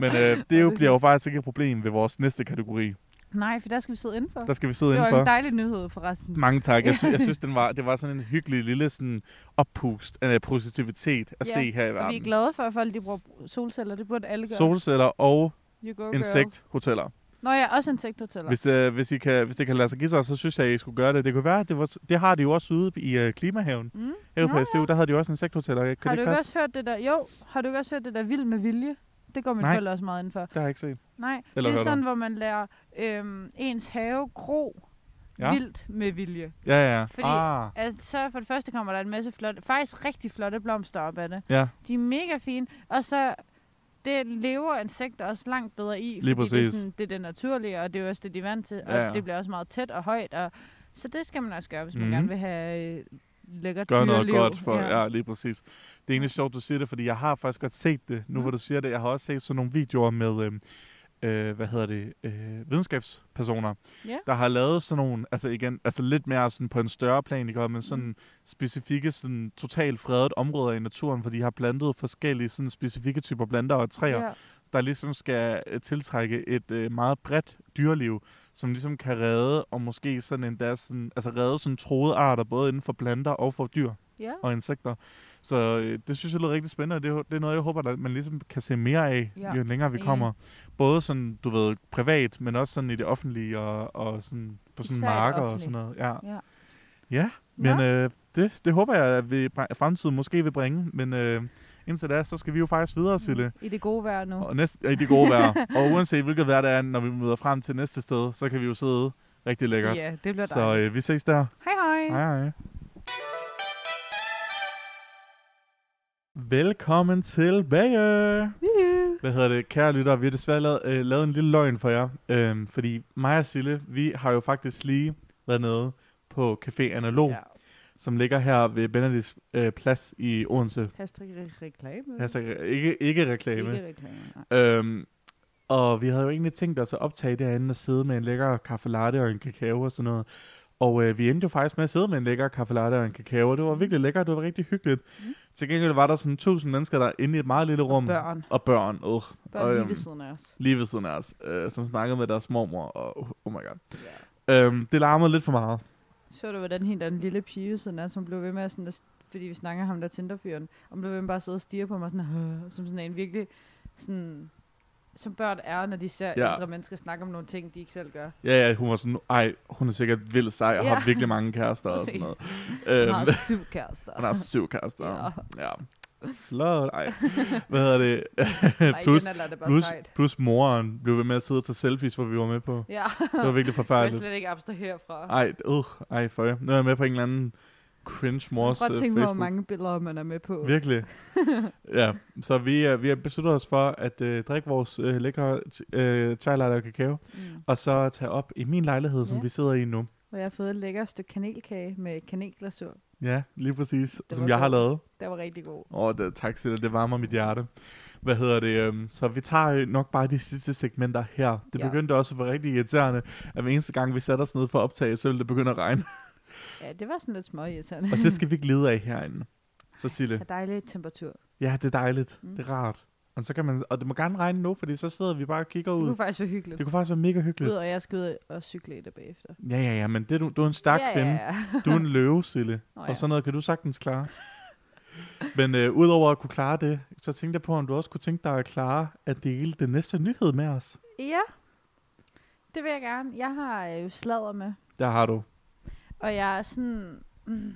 B: Men øh, det jo, bliver jo faktisk ikke et problem ved vores næste kategori.
A: Nej, for der skal vi sidde indenfor.
B: Der skal vi sidde
A: det var en
B: indenfor.
A: dejlig nyhed forresten.
B: Mange tak. Jeg, sy- jeg synes, den var, det var sådan en hyggelig lille sådan oppust af positivitet at
A: Ja,
B: se her i
A: Og vi er
B: verden.
A: glade for, at folk de bruger solceller. Det burde alle gøre.
B: Solceller og
A: you go, girl.
B: insekthoteller.
A: Nå ja, også insekthoteller.
B: Hvis, øh, hvis, I kan, hvis det kan lade sig give sig, så synes jeg, I skulle gøre det. Det kunne være, at det, var, det har de jo også ude i øh, Klimahaven.
A: Mm.
B: Herude
A: Nå,
B: på SDU, der havde de jo også insekthoteller. Kan
A: har
B: det
A: du
B: ikke
A: ikke
B: passe?
A: også hørt det der? Jo, har du ikke også hørt det der vild med vilje? Det går min
B: Nej.
A: forældre også meget indenfor.
B: Det har jeg ikke set.
A: Nej,
B: Eller
A: det
B: hørt
A: er
B: om.
A: sådan, hvor man lærer øhm, ens have gro
B: Ja.
A: ja. vildt med vilje.
B: Ja, ja, ja.
A: Fordi-
B: Ah,
A: Altså, så for det første kommer der en masse flotte, faktisk rigtig flotte blomster op af det.
B: ja.
A: De er mega fine, og så det lever insekter også langt bedre i,
B: Lige
A: fordi det er,
B: præcis.
A: sådan, det er det naturlige, og det er jo også det, de er vant til, og
B: Ja, ja.
A: det bliver også meget tæt og højt, og så det skal man også gøre, hvis man
B: Mhm.
A: gerne vil have øh, lækkert
B: Gør noget
A: dyreliv.
B: godt for, ja. ja, lige præcis. Det er egentlig sjovt, du siger det, fordi jeg har faktisk godt set det, nu
A: Mm.
B: hvor du siger det. Jeg har også set sådan nogle videoer med, øhm, øh, hvad hedder det, øh, videnskabspersoner,
A: Ja.
B: der har lavet sådan nogle, altså igen, altså lidt mere sådan på en større plan, ikke? Og men sådan mm. specifikke, sådan totalt fredet områder i naturen, hvor de har plantet forskellige sådan specifikke typer planter og træer,
A: Ja.
B: der ligesom skal øh, tiltrække et øh, meget bredt dyreliv, som ligesom kan redde, og måske sådan endda sådan, altså redde sådan troede arter, både inden for planter og for dyr
A: ja.
B: og insekter. Så øh, det synes jeg lyder rigtig spændende, og det, er jo- det er noget, jeg håber, at man ligesom kan se mere af, ja.
A: Ja,
B: jo længere vi
A: enig.
B: kommer. Både sådan, du ved, privat, men også sådan i det offentlige, og, og sådan på sådan
A: Især i det
B: marker og
A: offentlige.
B: sådan noget. Ja.
A: Ja.
B: ja
A: Nå.
B: men øh, det, det håber jeg, at vi, at fremtiden måske vil bringe, men øh, indtil da, så skal vi jo faktisk videre, Sille.
A: I det gode vejr nu.
B: Og næste, ja, i det gode vejr. og uanset hvilket vejr det er, når vi møder frem til næste sted, så kan vi jo sidde rigtig lækkert.
A: Ja, det bliver
B: så øh, vi ses der.
A: Hej hej.
B: Hej, hej. Velkommen tilbage.
A: Woohoo.
B: Hvad hedder det, kære lyttere? Vi har desværre lavet, øh, lavet en lille løgn for jer. Øhm, fordi mig og Sille, vi har jo faktisk lige været nede på Café Analog, ja.
A: Ja,
B: som ligger her ved Benedikts øh, plads i Odense.
A: hashtag re- reklame.
B: Altså, ikke, ikke reklame.
A: Ikke reklame. nej.
B: Øhm, og vi havde jo egentlig tænkt os at optage derinde og sidde med en lækker kaffe latte og en kakao og sådan noget. Og øh, vi endte jo faktisk med at sidde med en lækker kaffe latte og en kakao, og det var virkelig lækkert, det var rigtig hyggeligt. Mm. Til gengæld var der sådan 1000 mennesker der inde i et meget lille rum.
A: Børn.
B: Og børn, øh,
A: Børn
B: Og,
A: lige
B: øhm,
A: ved siden af os.
B: lige ved siden af os, øh, som snakkede med deres mormor, og oh, oh my god.
A: Ja.
B: Øhm, det larmede lidt for meget.
A: Så du, hvordan hende der den lille pige ved siden af, som blev ved med at sådan, at, fordi vi snakker ham der Tinderfyren, og blev ved med bare at sidde og stige på mig sådan, "Åh", som sådan en virkelig sådan, som børn er, når de ser
B: Ja.
A: ja. ældre mennesker snakke om nogle ting, de ikke selv gør.
B: Ja, ja, hun var sådan, ej, hun er sikkert vildt sej og ja.
A: Ja.
B: har virkelig mange kærester og sådan
A: Præcis.
B: noget.
A: Øhm.
B: Øhm,
A: Meget syv kærester.
B: hun har syv kærester.
A: Ja.
B: ja. Slot, ej. Hvad hedder det?
A: Nej,
B: plus,
A: plus, den er det bare
B: Plus,
A: sejt.
B: plus moren blev ved med at sidde og tage selfies, hvor vi var med på.
A: Ja,
B: Det var virkelig
A: jeg kan
B: forfærdeligt.
A: slet ikke abstrahere fra.
B: Ej, øh, ej, føj. Nu er jeg med på en eller anden cringe mors
A: Prøv
B: øh,
A: at tænke på, hvor
B: Facebook.
A: mange billeder man er med på.
B: Virkelig. ja, så vi, øh, vi har besluttet os for at øh, drikke vores øh, lækre øh, chai latte og kakao,
A: Mm.
B: og så tage op i min lejlighed, som
A: Ja.
B: vi sidder i nu.
A: Og jeg har fået et lækkert stykke kanelkage med kanelglasur.
B: Ja, lige præcis,
A: var
B: som jeg har
A: godt.
B: lavet.
A: Det var rigtig god.
B: Åh, oh, tak Silla, det varmer mit hjerte. Hvad hedder det? øhm, Så vi tager øh, nok bare de sidste segmenter her. Det
A: Ja.
B: begyndte også at være rigtig irriterende, at hver eneste gang vi satte os ned for at optage, så ville det begynde at regne.
A: Ja, det var sådan lidt småirriterende.
B: Og det skal vi ikke lide af herinde. Så Sille,
A: Og dejlig temperatur.
B: ja, det er dejligt.
A: Mm.
B: Det er rart. Og, så kan man, og det må gerne regne nu, fordi så sidder vi bare og kigger
A: Det
B: ud.
A: kunne faktisk være hyggeligt.
B: Det kunne faktisk være mega
A: ud,
B: hyggeligt.
A: og jeg skal ud og cykle i det bagefter.
B: Ja, ja, ja, men det, er du, du er en stærk
A: ja,
B: kvinde.
A: Ja, ja.
B: Du er en løve, Sille.
A: Nå,
B: Og
A: ja.
B: sådan noget kan du sagtens klare. Men øh, udover at kunne klare det, så tænkte jeg på, om du også kunne tænke dig at klare at dele den næste nyhed med os.
A: ja, det vil jeg gerne. Jeg har øh, jo sladder med,
B: Der har du.
A: og jeg er sådan... Mm,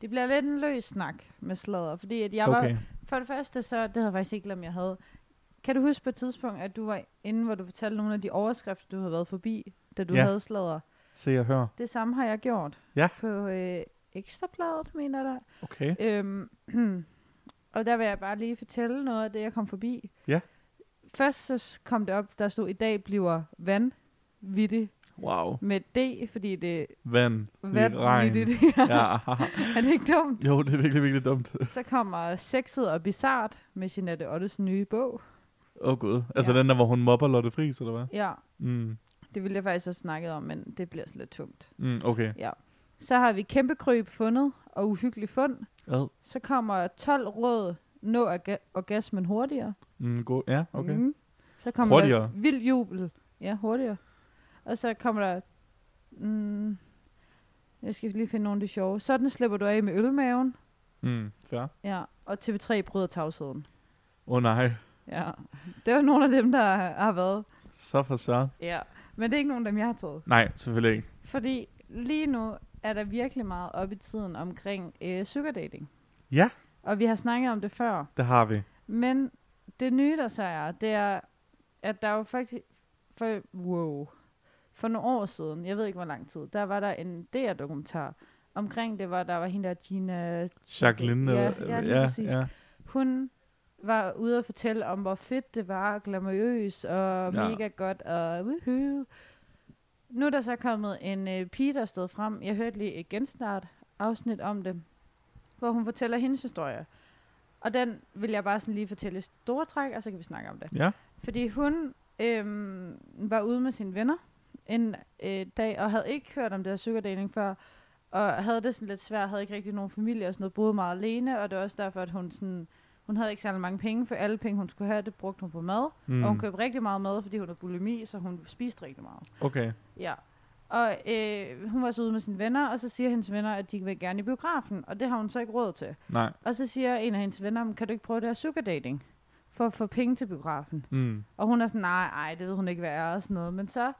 A: det bliver lidt en løs snak med sladder, fordi at jeg var...
B: Okay.
A: For det første, så... Det havde jeg faktisk ikke glemt, jeg havde. Kan du huske på et tidspunkt, at du var inde, hvor du fortalte nogle af de overskrifter, du havde været forbi, da du
B: Ja.
A: ja. havde sladder?
B: Se og hør.
A: Det samme har jeg gjort.
B: Ja.
A: På øh, Ekstrabladet, mener jeg da.
B: Okay.
A: Øhm, og der vil jeg bare lige fortælle noget af det, jeg kom forbi.
B: Ja.
A: Først så s- kom det op, der stod, i dag bliver vanvittig
B: Wow.
A: med D, fordi det er
B: Vand.
A: vanvittigt.
B: Regn.
A: ja.
B: Ja.
A: er det ikke dumt?
B: Jo, det er virkelig, virkelig dumt.
A: Så kommer Sexet og Bizart med Jeanette Ottes nye bog.
B: Åh oh, gud. Altså ja.
A: Ja.
B: den der, hvor hun mobber Lotte Friis, eller hvad?
A: Ja,
B: Mm.
A: det ville jeg faktisk have snakket om, men det bliver så lidt tungt.
B: Mm, okay.
A: Så har vi Kæmpe Kryb fundet og Uhyggelig Fund.
B: Ad.
A: Så kommer 12 råd, nå orga- orgasmen hurtigere.
B: Mm, god. Ja, okay. Mm.
A: Mm. Så kommer hurtigere.
B: Hurtigere.
A: der vild jubel. Ja, hurtigere. Og så kommer der... Mm, jeg skal lige finde nogle af de sjove. Sådan slipper du af med ølmaven.
B: Mm, fair.
A: Ja, og TV3 bryder tavsheden.
B: Åh oh, nej.
A: Ja, det var nogle af dem, der har været.
B: Så for så.
A: Ja. Men det er ikke nogen af dem, jeg har taget.
B: Nej, selvfølgelig ikke.
A: Fordi lige nu er der virkelig meget op i tiden omkring øh, sugar dating.
B: Ja.
A: Og vi har snakket om det før.
B: Det har vi.
A: Men det nye, der så er, det er, at der jo faktisk... For, wow. For nogle år siden, jeg ved ikke hvor lang tid, der var der en DR-dokumentar omkring det, hvor der var hende der, Gina...
B: Jacqueline.
A: Ja,
B: øh,
A: ja, lige præcis.
B: ja.
A: Hun var ude og fortælle om, hvor fedt det var, og glamourøst, og
B: Ja.
A: ja. mega godt, og woohoo. Nu er der så kommet en øh, pige, der stod frem. Jeg hørte lige et genstart afsnit om det, hvor hun fortæller hendes historie. Og den vil jeg bare sådan lige fortælle i store træk, og så kan vi snakke om det.
B: Ja.
A: Fordi hun øhm, var ude med sine venner en øh, dag, og havde ikke hørt om det her sugar dating før, og havde det sådan lidt svært, havde ikke rigtig nogen familie og sådan noget, boede meget alene, og det var også derfor, at hun sådan, hun havde ikke særlig mange penge, for alle penge, hun skulle have, det brugte hun på mad, mm.
B: Mm.
A: og hun købte rigtig meget mad, fordi hun havde bulimi, så hun spiste rigtig meget.
B: Okay.
A: Ja. Og øh, hun var så ude med sine venner, og så siger hendes venner, at de vil gerne i biografen, og det har hun så ikke råd til.
B: Nej.
A: Og så siger en af hendes venner, "Men kan du ikke prøve det her sugar dating, for at få penge til biografen?
B: Mm.
A: Og hun er sådan, nej, ej, det ved hun ikke, hvad er og sådan noget. Men så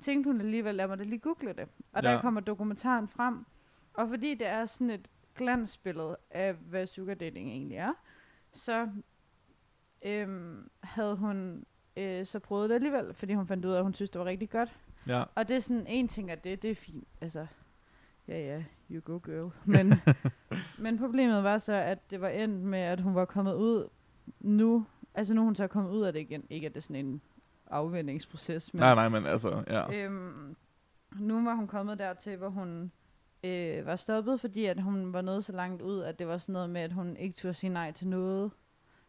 A: tænkte hun alligevel, lad mig da lige google det. Og ja.
B: Ja.
A: der kommer dokumentaren frem. Og fordi det er sådan et glansbillede af, hvad sugar dating egentlig er, så øhm, havde hun øh, så prøvet det alligevel, fordi hun fandt ud af, at hun synes, det var rigtig godt.
B: Ja.
A: Og det er sådan, en ting at det, det er fint. Altså, ja ja, you go girl. Men, men problemet var så, at det var endt med, at hun var kommet ud nu. Altså nu er hun så kommet ud af det igen. Ikke at det er sådan en afvendingsproces. Men,
B: Nej, nej, men altså, ja.
A: Øhm, nu var hun kommet dertil, hvor hun øh, var stoppet, fordi at hun var nået så langt ud, at det var sådan noget med, at hun ikke turde sige nej til noget.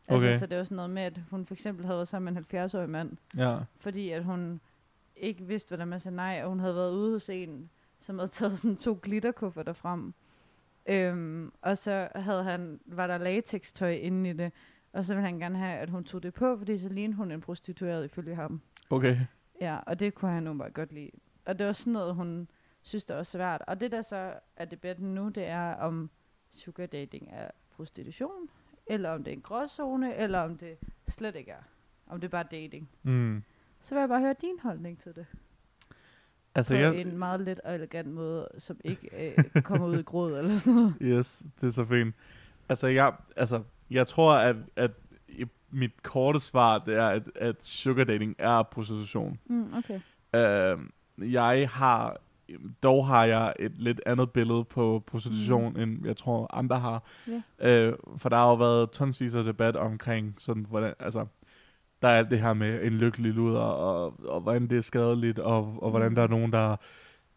A: Altså,
B: Okay.
A: Så det var sådan noget med, at hun for eksempel havde været sammen med en 70-årig mand,
B: Ja.
A: fordi at hun ikke vidste, hvordan man sagde nej, og hun havde været ude hos en, som havde taget sådan to glitterkufferter frem. Øhm, og så havde han, var der latextøj inde i det, og så ville han gerne have, at hun tog det på, fordi så lignede hun en prostitueret ifølge ham.
B: Okay.
A: Ja, og det kunne han nu bare godt lide. Og det var sådan noget, hun synes, det var svært. Og det, der så er debatten nu, det er, om sugar dating er prostitution, eller om det er en gråzone, eller om det slet ikke er. Om det er bare dating.
B: Mm.
A: Så vil jeg bare høre din holdning til det.
B: Altså,
A: På
B: jeg,
A: en meget let og elegant måde, som ikke øh, kommer ud i gråd eller sådan noget.
B: Yes, det er så fint. Altså, jeg, altså, jeg tror, at, at i- mit korte svar, det er, at, at sugar dating er prostitution.
A: Mm, okay.
B: Uh, jeg har, dog har jeg et lidt andet billede på prostitution, mm. end jeg tror, andre har. Yeah. Uh, for der har jo været tonsvis af debat omkring, sådan, hvordan, altså, der er alt det her med en lykkelig luder, og, og hvordan det er skadeligt, og, og hvordan der er nogen, der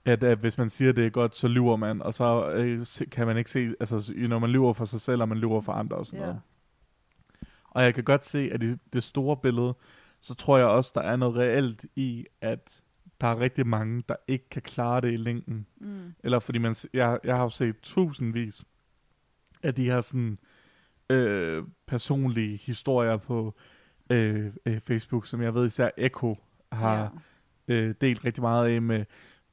B: at, at hvis man siger, det er godt, så lyver man, og så øh, se- kan man ikke se, altså når man lyver for sig selv, og man lyver for andre og sådan
A: Ja.
B: noget. Og jeg kan godt se, at i det store billede, så tror jeg også, der er noget reelt i, at der er rigtig mange, der ikke kan klare det i længden.
A: Mm.
B: Eller fordi man, s- jeg, jeg har jo set tusindvis af de her sådan, øh, personlige historier på øh, øh, Facebook, som jeg ved især Echo har,
A: Ja.
B: øh, delt rigtig meget af med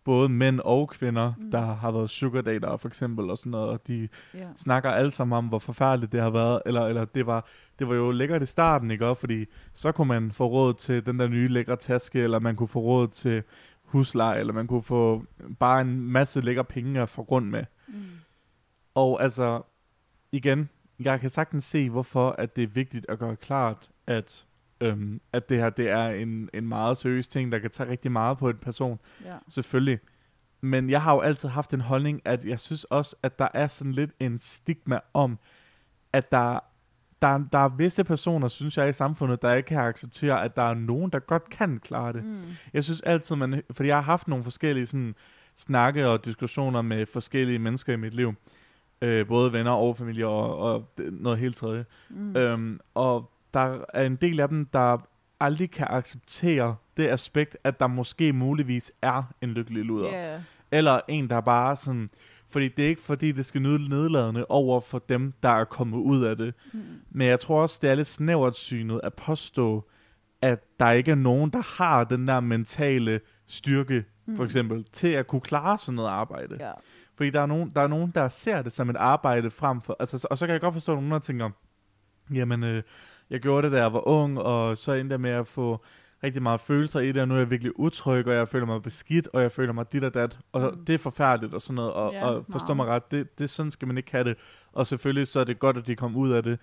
B: både mænd og kvinder,
A: Mm.
B: mm. der har været sugar dater for eksempel og sådan noget, og de
A: Ja.
B: snakker alle sammen om, hvor forfærdeligt det har været, eller, eller det, var, det var jo lækkert i starten, ikke også? Fordi så kunne man få råd til den der nye lækre taske, eller man kunne få råd til husleje, eller man kunne få bare en masse lækre penge at få rundt med.
A: Mm.
B: Og altså, igen, jeg kan sagtens se, hvorfor at det er vigtigt at gøre klart, at, øhm, at det her det er en, en meget seriøs ting, der kan tage rigtig meget på en person,
A: ja.
B: selvfølgelig. Men jeg har jo altid haft en holdning, at jeg synes også, at der er sådan lidt en stigma om, at der, der, der er visse personer, synes jeg, i samfundet, der ikke kan acceptere, at der er nogen, der godt kan klare det.
A: Mm.
B: Jeg synes altid, man, fordi jeg har haft nogle forskellige sådan, snakke og diskussioner med forskellige mennesker i mit liv. Øh, både venner og familie og, og det- noget helt tredje.
A: Mm.
B: Mm. Øhm, og der er en del af dem, der aldrig kan acceptere det aspekt, at der måske muligvis er en lykkelig luder.
A: Ja.
B: Eller en, der bare sådan... Fordi det er ikke fordi, det skal nyde nedladende over for dem, der er kommet ud af det.
A: Mm.
B: Men jeg tror også, det er lidt snævert synet at påstå, at der ikke er nogen, der har den der mentale styrke, mm. for eksempel, til at kunne klare sådan noget arbejde.
A: Ja.
B: Fordi der er, nogen, der er nogen, der ser det som et arbejde frem for... Altså, og så kan jeg godt forstå, at nogen der tænker, jamen, øh, jeg gjorde det, da jeg var ung, og så endte jeg med at få rigtig meget følelser i det, og nu er jeg virkelig utryg, og jeg føler mig beskidt, og jeg føler mig dit og dat, og
A: Mm.
B: det er forfærdeligt og sådan noget, og,
A: Ja,
B: ja, og forstå
A: meget.
B: mig ret, det, det, sådan skal man ikke have det. Og selvfølgelig så er det godt, at de kom ud af det.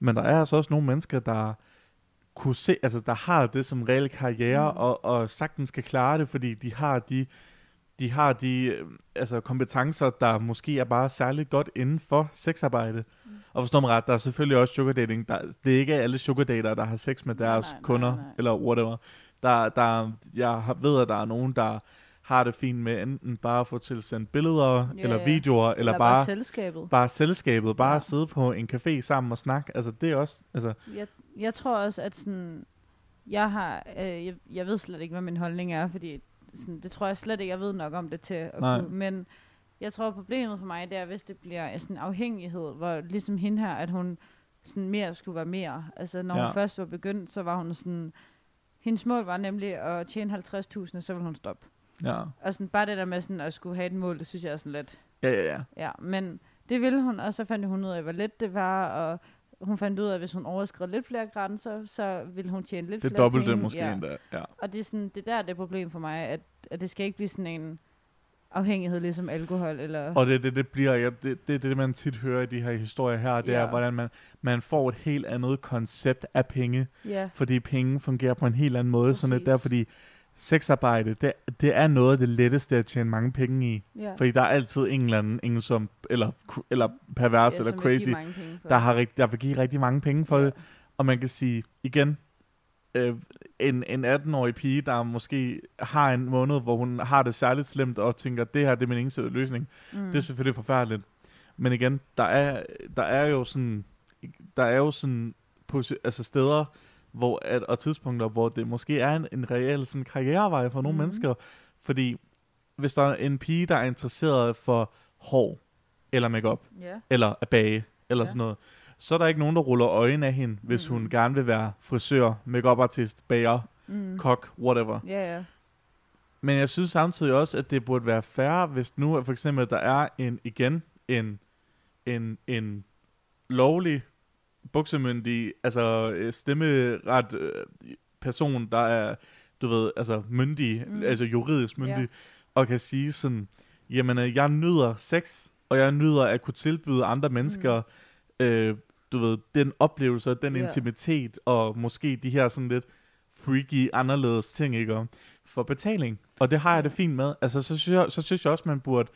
B: Men der er altså også nogle mennesker, der kunne se, altså der har det som reel karriere,
A: Mm.
B: mm. og, og sagtens kan klare det, fordi de har de, de har de øh, altså kompetencer, der måske er bare særligt godt inden for sexarbejde. Mm. Og forstå mig ret, der er selvfølgelig også sugar dating. Der, det er ikke alle sugar dater, der har sex med
A: Nej,
B: deres
A: nej, nej,
B: kunder,
A: nej.
B: eller whatever. Der, der, jeg har- ved, at der er nogen, der har det fint med enten bare at få tilsendt billeder,
A: Ja,
B: yeah, eller
A: ja.
B: videoer, eller,
A: Eller
B: eller bare,
A: selskabet.
B: bare selskabet, bare
A: Ja.
B: ja. sidde på en café sammen og snakke. Altså, det er også... Altså,
A: Jeg, jeg tror også, at sådan, jeg har, øh, jeg, jeg ved slet ikke, hvad min holdning er, fordi sådan, det tror jeg slet ikke, jeg ved nok om det til at
B: Nej.
A: kunne, men jeg tror, problemet for mig, det er, hvis det bliver sådan en afhængighed, hvor ligesom hende her, at hun sådan mere skulle være mere. Altså, når ja.
B: Ja.
A: hun først var begyndt, så var hun sådan, hendes mål var nemlig at tjene 50.000, og så ville hun stoppe.
B: ja.
A: Og sådan, bare det der med sådan, at skulle have et mål, det synes jeg er sådan lidt,
B: Ja, ja, ja.
A: Ja, men det ville hun, og så fandt hun ud af, hvor let det var, og hun fandt ud af, at hvis hun overskred lidt flere grænser, så ville hun tjene lidt
B: Det
A: flere
B: dobbelte
A: penge.
B: måske
A: ja.
B: ja. endda. Ja.
A: Og det er, sådan, det er der, det er problem for mig, at, at det skal ikke blive sådan en afhængighed, ligesom alkohol, eller...
B: Og det, det, det bliver, ja, det, det, det, det, man tit hører i de her historier her, det
A: Ja.
B: ja. er, hvordan man, man får et helt andet koncept af penge,
A: ja,
B: fordi penge fungerer på en helt anden måde. Sådan lidt
A: Præcis.
B: der, fordi sexarbejde, det, det er noget af det letteste at tjene mange penge i.
A: ja.
B: Fordi der er altid en eller anden, ingen som, eller, eller pervers,
A: ja,
B: ja, eller
A: som vil give
B: crazy,
A: mange penge for.
B: der, har, rigt- der vil give rigtig mange penge for
A: Ja.
B: ja. det. Og man kan sige, igen, øh, en, en 18-årig pige, der måske har en måned, hvor hun har det særligt slemt, og tænker, det her det er min eneste løsning.
A: Mm.
B: Det er selvfølgelig forfærdeligt. Men igen, der er, der er jo sådan, der er jo sådan posi- altså steder hvor at, og tidspunkter, hvor det måske er en, en reel sådan, karrierevej for nogle
A: Mhm.
B: mm. mennesker. Fordi hvis der er en pige, der er interesseret for hår, eller makeup
A: ja.
B: eller at bage, eller
A: Ja.
B: ja. sådan noget, så er der ikke nogen, der ruller øjnene af hende, hvis
A: Mm.
B: mm. hun gerne vil være frisør, makeup artist bager,
A: Mm.
B: kok, whatever.
A: ja, ja.
B: Men jeg synes samtidig også, at det burde være færre, hvis nu at for eksempel at der er en, igen, en, en, en lovlig buksemyndig, altså øh, stemmeret øh, person, der er, du ved, altså myndig,
A: Mm.
B: mm. altså juridisk myndig,
A: Ja.
B: yeah. og kan sige sådan, jamen øh, jeg nyder sex, og jeg nyder at kunne tilbyde andre mennesker, mm. øh, du ved, den oplevelse, og den
A: Ja.
B: yeah. intimitet, og måske de her sådan lidt freaky, anderledes ting, ikke om, for betaling. Og det har jeg det fint med. Altså, så synes jeg, så synes jeg også, man burde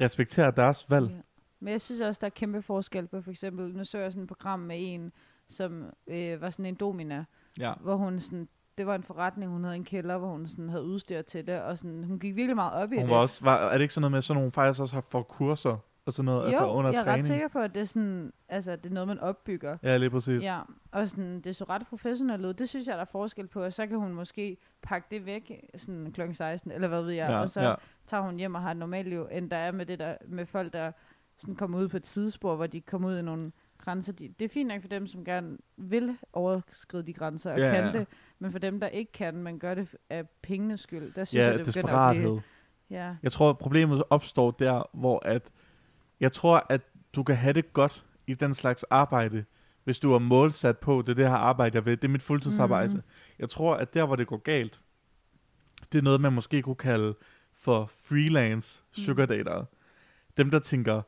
B: respektere deres valg.
A: Ja. Men jeg synes også, der er kæmpe forskel på, for eksempel, nu så jeg sådan et program med en, som øh, var sådan en domina,
B: Ja.
A: hvor hun sådan, det var en forretning, hun havde en kælder, hvor hun sådan havde udstyr til det, og sådan, hun gik virkelig meget op i
B: Hun
A: det.
B: var også, var, er det ikke sådan noget med, sådan nogle faktisk også har for kurser og sådan noget,
A: jo,
B: altså under
A: jeg er ret
B: træning?
A: sikker på, at det er, sådan, altså, det er noget, man opbygger.
B: Ja, lige præcis.
A: Ja, og sådan, det så ret professionelt ud. Det synes jeg, der er forskel på, og så kan hun måske pakke det væk sådan kl. 16, eller hvad ved jeg, og så
B: ja.
A: tager hun hjem og har et normalt liv, end der er med, det der, med folk, der sådan kommer ud på et sidespor, hvor de kommer ud i nogle grænser. De, det er fint nok for dem, som gerne vil overskride de grænser og
B: Ja,
A: kan
B: ja.
A: det, men for dem, der ikke kan, man gør det af pengenes skyld, der synes
B: ja
A: jeg, det begynder at blive...
B: desperathed.
A: Ja,
B: Jeg tror, at problemet opstår der, hvor at, jeg tror, at du kan have det godt i den slags arbejde, hvis du er målsat på, det er det her arbejde, jeg ved, det er mit fuldtidsarbejde.
A: Mhm.
B: Mm. Jeg tror, at der, hvor det går galt, det er noget, man måske kunne kalde for freelance sugar datere. Mm. Dem, der tænker,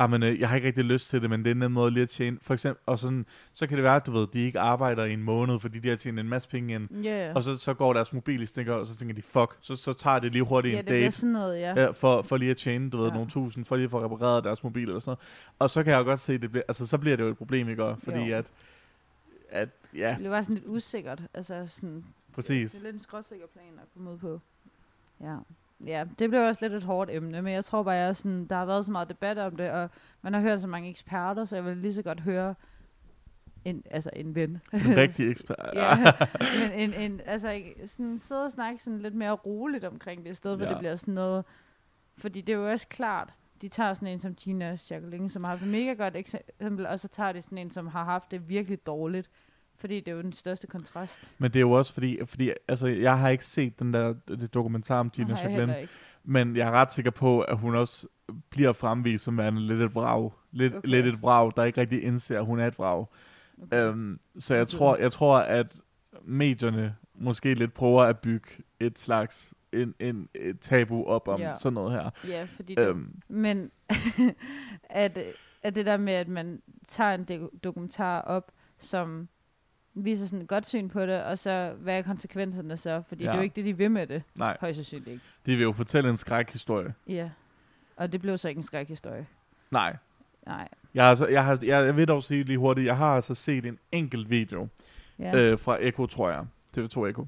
B: "Jamen, øh, jeg har ikke rigtig lyst til det, men det er en anden måde lige at tjene. For eksempel, og sådan, så kan det være, at du ved, de ikke arbejder i en måned, fordi de har tjent en masse penge ind.
A: ja, ja.
B: Og så, så går deres mobil i stikker, og så tænker de, fuck, så, så tager det lige hurtigt
A: ja, det
B: en date
A: bliver sådan noget, ja.
B: ja. for, for lige at tjene, du ved,
A: Ja.
B: ja. nogle tusind, for lige at få repareret deres mobil eller sådan noget. Og så kan jeg jo godt se, det bliver, altså, så bliver det jo et problem, ikke? Og Fordi
A: Jo.
B: at, at, ja,
A: Det bliver bare sådan lidt usikkert. Altså sådan, Det er
B: præcis.
A: lidt en skråsikker plan at komme ud på. Ja. Ja, det blev også lidt et hårdt emne, men jeg tror bare, jeg er sådan, der har været så meget debat om det, og man har hørt så mange eksperter, så jeg vil lige så godt høre en, altså en ven.
B: En rigtig ekspert.
A: ja, men en, en, altså ikke- sådan, sidde og snakke sådan lidt mere roligt omkring det, i stedet for, ja.
B: Ja.
A: det bliver sådan noget, fordi det er jo også klart, de tager sådan en som Gina Jacqueline, som har haft et mega godt eksempel, og så tager de sådan en, som har haft det virkelig dårligt, fordi det er jo den største kontrast.
B: Men det er jo også fordi, fordi altså, jeg har ikke set den der det dokumentar om Gina
A: Det har jeg
B: Jacqueline,
A: heller ikke.
B: men jeg er ret sikker på, at hun også bliver fremvist som værende lidt et vrag. Lidt,
A: Okay.
B: okay. lidt et vrag, der ikke rigtig indser, at hun er et vrag.
A: Okay.
B: Øhm, så jeg
A: Okay.
B: tror, jeg tror, at medierne måske lidt prøver at bygge et slags en, en, et tabu op om
A: Ja.
B: sådan noget her.
A: Ja, fordi det,
B: Øhm,
A: Men at, at det der med, at man tager en do- dokumentar op, som viser sådan et godt syn på det, og så hvad er konsekvenserne så? Fordi ja. det er
B: Ja.
A: jo ikke det, de vil med det,
B: nej,
A: højst sandsynligt ikke.
B: de vil jo fortælle en skrækhistorie.
A: Ja. Og det blev så ikke en skrækhistorie.
B: Nej,
A: Nej.
B: jeg, har, altså- jeg, har, jeg, jeg vil dog sige lige hurtigt, jeg har altså set en enkelt video
A: Ja.
B: ja. øh, fra Eko, tror jeg, TV2 Eko,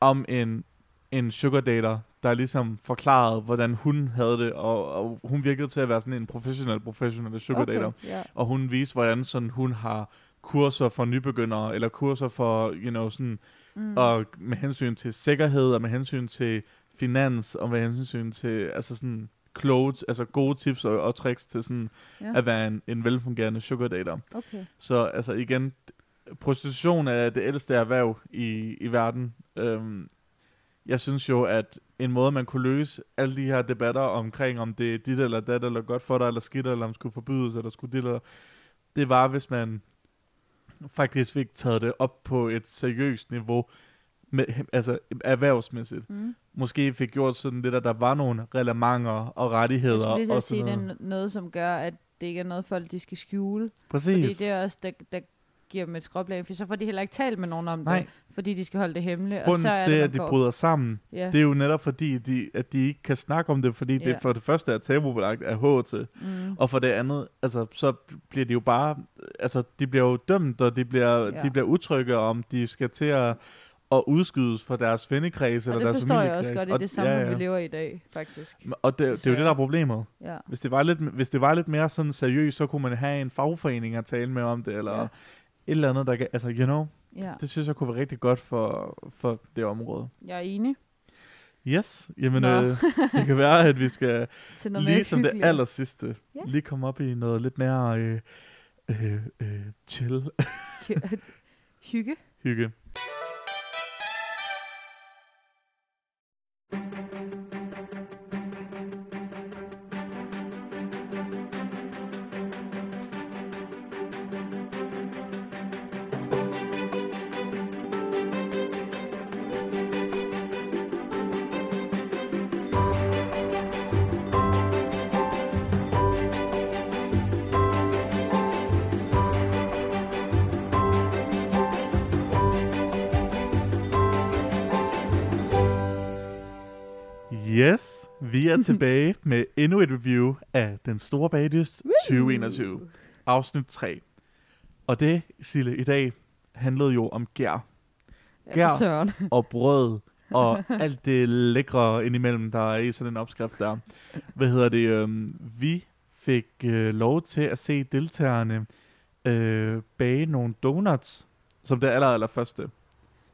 B: om en, en sugar dater, der ligesom forklarede, hvordan hun havde det, og, og hun virkede til at være sådan en professionel, professionel sugar okay. dater.
A: Ja.
B: og hun viste, hvordan sådan hun har kurser for nybegyndere, eller kurser for, you know, sådan,
A: Mm.
B: mm. og med hensyn til sikkerhed, og med hensyn til finans, og med hensyn til, altså sådan, kloge, altså gode tips og, og tricks til sådan,
A: Ja.
B: ja. at være en, en velfungerende sugar dater.
A: Okay.
B: Så altså igen, prostitution er det ældste erhverv i, i verden. Øhm, jeg synes jo, at en måde, man kunne løse alle de her debatter omkring, om det er dit eller dat, eller godt for dig, eller skidt, eller om det skulle forbydes, eller skulle dit, eller... Det var, hvis man faktisk fik taget det op på et seriøst niveau, med, altså erhvervsmæssigt.
A: Mm.
B: Måske fik gjort sådan lidt, at der var nogle relevanter og
A: Jeg
B: rettigheder.
A: skulle lige så
B: og
A: sige,
B: sådan
A: det
B: noget.
A: er no- noget, som gør, at det ikke er noget, folk de skal skjule.
B: Præcis.
A: Fordi det er også, der, der giver dem et skråplan, for så får de heller ikke talt med nogen om
B: Nej.
A: det, fordi de skal holde det hemmeligt. og så
B: Grunden
A: er
B: til,
A: det, man
B: at de
A: går-
B: bryder sammen,
A: Ja.
B: Det er jo netop fordi, de, at de ikke kan snakke om det, fordi yeah.
A: Ja.
B: det for det første er tabubelagt af HT,
A: Mm.
B: og for det andet, altså, så bliver de jo bare, altså, de bliver jo dømt, og de bliver,
A: Ja.
B: yeah. de bliver utrygge om, de skal til at, at udskydes fra deres vennekreds eller
A: Og det
B: deres
A: forstår jeg også
B: familiekreds.
A: godt i
B: Og-
A: det samfund,
B: ja, ja.
A: vi lever i i dag, faktisk.
B: Og det,
A: Altså-
B: det er jo det, der er problemet.
A: Ja.
B: Hvis det var lidt, hvis det var lidt mere sådan seriøst, så kunne man have en fagforening at tale med om det, eller
A: Ja.
B: yeah. et eller andet, der kan, altså, you know,
A: ja,
B: det synes jeg kunne være rigtig godt for, for det område.
A: jeg er enig.
B: Yes, jamen
A: Nå.
B: øh, det kan være, at vi skal
A: Til noget
B: lige
A: mere
B: som Ligesom det
A: hyggeligere.
B: aller sidste,
A: Ja.
B: lige komme op i noget lidt mere øh, øh, øh, chill
A: Hygge.
B: hygge. Yes, vi er tilbage med endnu et review af Den Store Bagdyst 2021, afsnit 3. Og det, Sille, i dag handlede jo om gær
A: Ja,
B: Gær.
A: for søren.
B: og brød og alt det lækre indimellem, der er i sådan en opskrift der. Hvad hedder det? Øhm, vi fik øh, lov til at se deltagerne øh, bage nogle donuts, som det aller, aller første.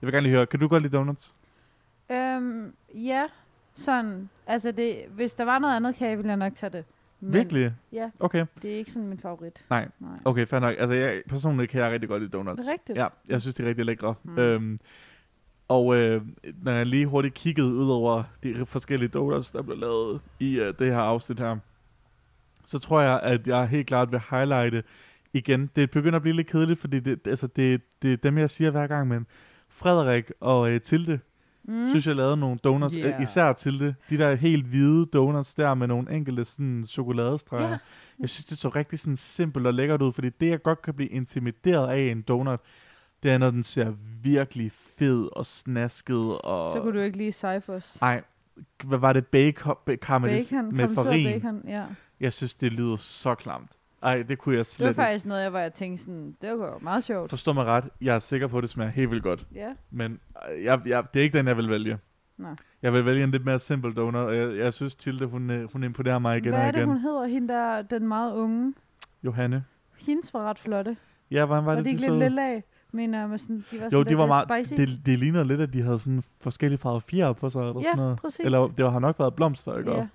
B: Jeg vil gerne lige høre, kan du godt lide donuts?
A: Øhm, ja, sådan. Altså, det, hvis der var noget andet kage, ville jeg nok tage det. Men
B: Virkelig?
A: ja.
B: Okay,
A: det er ikke sådan min favorit.
B: Nej.
A: Nej.
B: okay, fair nok. Altså, jeg, personligt kan jeg rigtig godt lide donuts.
A: Er det rigtigt?
B: Ja, jeg synes, de er rigtig lækre.
A: Mm.
B: Mm. Øhm, og øh, når jeg lige hurtigt kiggede ud over de forskellige donuts, der blev lavet i øh, det her afsnit her, så tror jeg, at jeg helt klart vil highlighte igen. Det begynder at blive lidt kedeligt, fordi det, altså det, det er dem, jeg siger hver gang, men Frederik og øh, Tilde, mm.
A: Mm.
B: synes jeg lavede nogle donuts,
A: Yeah.
B: yeah. især Tilde. De der helt hvide donuts der med nogle enkelte sådan chokoladestreger.
A: Ja.
B: Yeah. Jeg synes, det så rigtig sådan simpelt og lækkert ud, fordi det, jeg godt kan blive intimideret af i en donut, det er, når den ser virkelig fed og snasket og...
A: Så kunne du ikke lige Cyphers.
B: Ej, hvad var det? Bacon,
A: Bacon,
B: bacon, med
A: kompenseret
B: farin.
A: bacon, ja.
B: Jeg synes, det lyder så klamt. Ej, det kunne
A: Det
B: jeg
A: var
B: slet ikke.
A: faktisk noget, jeg, hvor jeg tænkte sådan, det var jo meget sjovt.
B: Forstå mig ret, jeg er sikker på, at det smager helt vildt godt.
A: Ja,
B: Men øh, jeg, jeg, det er ikke den, jeg vil vælge.
A: Nå.
B: Jeg vil vælge en lidt mere simpel donut, og jeg, jeg synes, Tilde, hun, øh, hun imponerer mig igen
A: Hvad
B: og
A: er
B: igen.
A: det, hun hedder, hende der, den meget unge?
B: Johanne.
A: Hendes var ret flotte.
B: Ja, hvordan var,
A: Var
B: det,
A: det
B: de
A: ikke
B: så?
A: lidt lilla af? Mener jeg, med sådan, de var
B: Jo,
A: sådan
B: de var meget,
A: spicy.
B: det, det ligner lidt, at de havde sådan forskellige farver fjer på sig, eller
A: Ja,
B: sådan noget.
A: præcis.
B: Eller det har nok været blomster, ikke?
A: ja.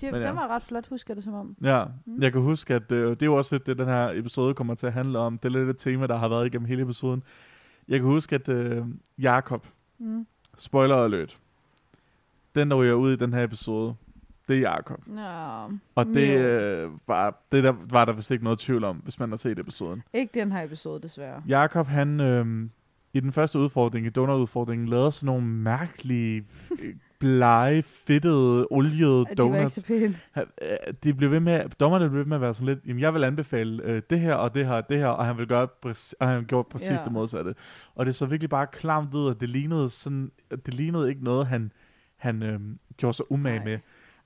A: De,
B: Men ja.
A: Den var ret flot, husker jeg det som om.
B: Ja,
A: Mm.
B: jeg kan huske, at øh, det er jo også lidt det, den her episode kommer til at handle om. Det er lidt et tema, der har været igennem hele episoden. Jeg kan huske, at øh, Jakob,
A: Mm.
B: spoiler alert, den, der ryger ud i den her episode, det er Jakob.
A: Nå,
B: Og det,
A: Mio.
B: øh, var, det der, var der vist ikke noget tvivl om, hvis man har set episoden.
A: ikke den her episode, desværre.
B: Jakob, han... Øh, i den første udfordring, i donutudfordringen, lavede sådan nogle mærkelige, øh, blege, fedtede, oliede
A: At de var ikke
B: donuts.
A: så pæne.
B: Han- øh, de blev ved med, dommerne blev ved med at være sådan lidt, jamen jeg vil anbefale øh, det her og det her og det her, og han, vil gøre præcis, og han gjorde præcis
A: Ja.
B: yeah. det modsatte. Og det så virkelig bare klamt ud, og det lignede, sådan, det lignede ikke noget, han, han øh, gjorde sig umage
A: Nej.
B: med.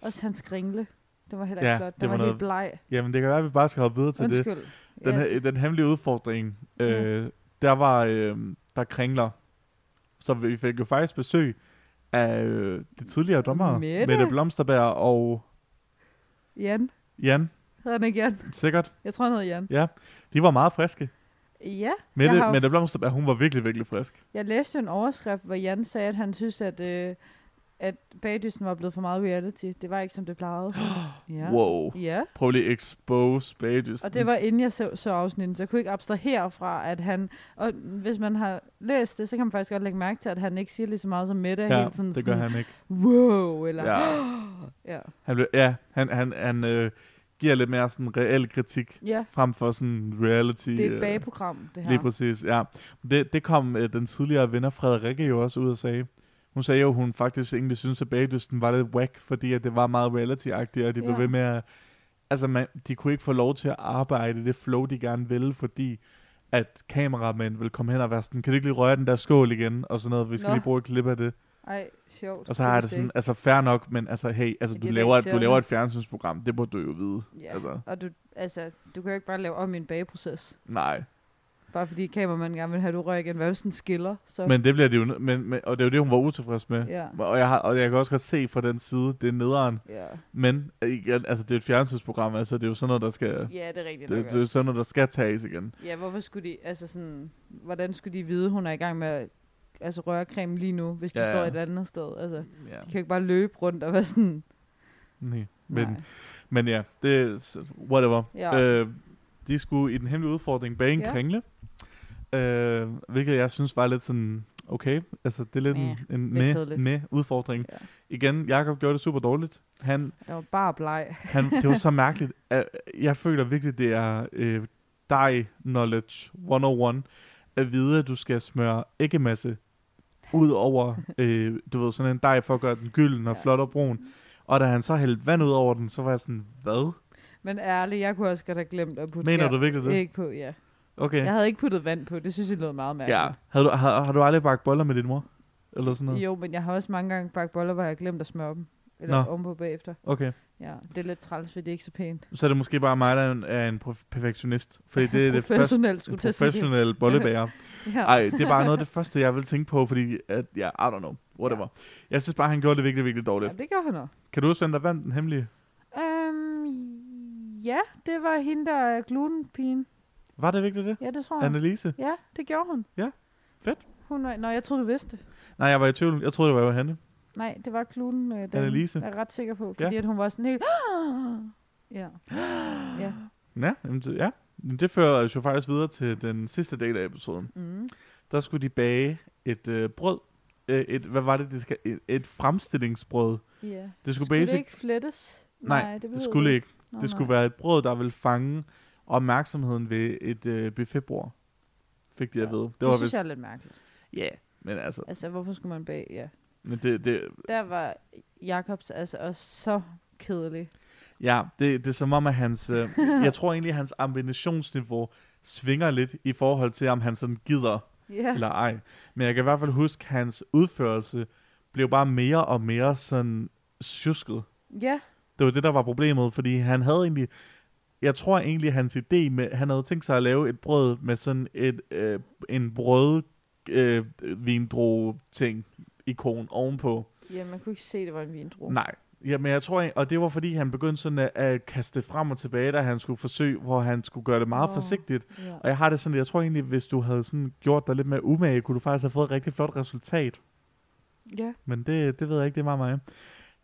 A: Også hans kringle. Det var heller ikke
B: Ja,
A: flot. Den
B: det
A: var,
B: var
A: helt bleg.
B: Jamen det kan være, at vi bare skal hoppe videre til det.
A: Undskyld.
B: Den,
A: ja,
B: her, den hemmelige udfordring, øh,
A: Ja.
B: der var, øh, der kringler, så vi fik jo faktisk besøg af øh, de tidligere dommer,
A: Mette.
B: Mette Blomsterberg og
A: Jan.
B: Jan,
A: Hedder han ikke Jan?
B: sikkert.
A: Jeg tror, han hedder Jan.
B: De var meget friske.
A: Ja.
B: Mette,
A: har jo-
B: Mette Blomsterberg, hun var virkelig, virkelig frisk.
A: Jeg læste en overskrift, hvor Jan sagde, at han synes, at, øh, at bagdysten var blevet for meget reality. Det var ikke, som det plejede. Ja.
B: Wow.
A: Ja,
B: Prøv lige at expose bagedysten.
A: og det var inden jeg så, så afsnittet, så jeg kunne ikke abstrahere fra, at han... Og hvis man har læst det, så kan man faktisk godt lægge mærke til, at han ikke siger lige så meget som Mette
B: ja,
A: hele tiden.
B: det gør
A: sådan,
B: han ikke.
A: Wow, eller...
B: Ja.
A: ja.
B: Han, blev, ja, han, han, han øh, giver lidt mere sådan reel kritik,
A: ja.
B: frem for sådan reality.
A: Det er et
B: øh,
A: bageprogram, det her.
B: Lige præcis, ja. Det, det kom øh, den tidligere venner Frederikke jo også ud og sagde. Hun sagde jo, at hun faktisk egentlig synes, at bagdysten var lidt whack, fordi at det var meget reality-agtigt, og de blev
A: Ja.
B: ved med at... Altså, man, de kunne ikke få lov til at arbejde i det flow, de gerne ville, fordi at kameramænd ville komme hen og være sådan, kan du ikke lige røre den der skål igen, og sådan noget, vi skal
A: Nå.
B: Nå. lige bruge et klip af det.
A: Ej, sjovt.
B: Og så har jeg det
A: vidste jeg
B: sådan, altså fair nok, men altså hey, altså,
A: Jeg
B: du,
A: gider
B: laver,
A: ikke til
B: du
A: at-
B: laver et fjernsynsprogram, det må du jo vide.
A: ikke. Ja,
B: altså.
A: og du, altså, du kan jo ikke bare lave om i en bageproces.
B: Nej.
A: Bare fordi kameramanden gerne vil have, at du rører igen. Hvad hvis den skiller? Så,
B: Men det bliver det jo, nø- men, men, og det er jo det, hun var utilfreds med.
A: ja.
B: Og jeg, har, og jeg kan også godt se fra den side, det er nederen.
A: Ja.
B: Men øh, igen, altså, det er et fjernsynsprogram, altså det er jo sådan noget, der skal, det,
A: ja, det er rigtigt nok
B: det, er
A: også.
B: sådan noget, der skal tages igen.
A: Ja, hvorfor skulle de, altså sådan, hvordan skulle de vide, hun er i gang med at altså, røre creme lige nu, hvis de
B: Ja, ja.
A: står et andet sted? Altså, de
B: Ja.
A: kan jo ikke bare løbe rundt og være sådan,
B: Nej. Men,
A: nej.
B: men ja, det er s- whatever.
A: Ja.
B: Øh, de skulle i den hemmelige udfordring bage en
A: Ja.
B: ja. kringle, øh, hvilket jeg synes var lidt sådan, okay, altså det er lidt
A: Meh.
B: en, en
A: Lidt
B: med,
A: kedeligt.
B: med udfordring.
A: Ja.
B: Ja. Igen, Jakob gjorde det super dårligt. Han,
A: Jeg var bare bleg.
B: han, det var så mærkeligt. at Jeg føler virkelig, det er øh, dig knowledge 101 at vide, at du skal smøre æggemasse ud over, øh, du ved, sådan en dej for at gøre den gylden og
A: Ja.
B: flot og brun. Og da han så hældte vand ud over den, så var jeg sådan, hvad?
A: Men ærligt, jeg kunne også godt have glemt at putte
B: Mener
A: gær-
B: du virkelig det?
A: Ikke på, ja.
B: Okay.
A: Jeg havde ikke puttet vand på, det synes jeg lød meget
B: Ja.
A: mærkeligt.
B: Har du, har, har du aldrig bagt boller med din mor? Eller sådan noget?
A: Jo, men jeg har også mange gange bagt boller, hvor jeg har glemt at smøre dem. Eller
B: Nå.
A: ovenpå bagefter.
B: Okay.
A: Ja, det er lidt træls, fordi det er ikke så pænt.
B: Så er det måske bare mig, der er en, er en prof- perfektionist. Fordi det er det første
A: Professionelt, skulle jeg til at sige det.
B: professionelle bollebager.
A: Ja.
B: Ej, det er bare noget af det første, jeg vil tænke på, fordi, at, ja, I don't know, whatever. Jeg synes bare, han gjorde det virkelig, virkelig dårligt.
A: ja, det gør han også.
B: Kan du også vende dig vandt den hemmelige?
A: Øhm, ja, det var hende, der er glutenpigen.
B: Var det virkelig det?
A: Ja, det tror jeg.
B: Annelise?
A: Ja, det gjorde hun.
B: Ja, fedt.
A: Hun var, nå, jeg troede, du vidste. det.
B: Nej, jeg var i tvivl. Jeg troede, det var Hanne.
A: Nej, det var kluden. Øh, den,
B: Annelise.
A: Jeg er ret sikker på,
B: Ja.
A: fordi at hun var sådan helt... Ja. ja.
B: Ja, jamen, det- ja. Men det fører os jo faktisk videre til den sidste del af episoden.
A: Mm.
B: Der skulle de bage et øh, brød. Øh, et, hvad var det, de skal? Et, et fremstillingsbrød.
A: ja.
B: Det skulle,
A: skulle det
B: basic...
A: ikke flettes?
B: Nej,
A: behøvede
B: det skulle ikke.
A: Nå,
B: Det skulle
A: nej.
B: være et brød, der ville fange opmærksomheden ved et øh, buffetbord. Fik de at
A: Ja.
B: vide. Det,
A: Det,
B: var
A: det synes
B: vist...
A: jeg er lidt mærkeligt.
B: Ja, yeah. men altså...
A: Altså, hvorfor skulle man bag... Ja.
B: Men det, det,
A: Der var Jakobs altså også så kedelig.
B: Ja, det, det er som om, at hans... Øh, jeg tror egentlig, at hans ambitionsniveau svinger lidt i forhold til, om han sådan gider
A: Ja.
B: eller ej. Men jeg kan i hvert fald huske, at hans udførelse blev bare mere og mere sådan sjusket.
A: Ja.
B: Det var det, der var problemet, fordi han havde egentlig... Jeg tror egentlig, at hans idé med... Han havde tænkt sig at lave et brød med sådan et, øh, en brød øh, vindro ting ikon ovenpå.
A: ja, man kunne ikke se, det var en vindru.
B: Nej. Ja, men jeg tror, ikke- og det var fordi, han begyndte sådan at, at kaste det frem og tilbage, da han skulle forsøge, hvor han skulle gøre det meget
A: Nå.
B: oh. forsigtigt.
A: Ja.
B: Og jeg har det sådan, jeg tror egentlig, hvis du havde sådan gjort dig lidt mere umage, kunne du faktisk have fået et rigtig flot resultat.
A: ja.
B: Men det, det ved jeg ikke, det er meget mig.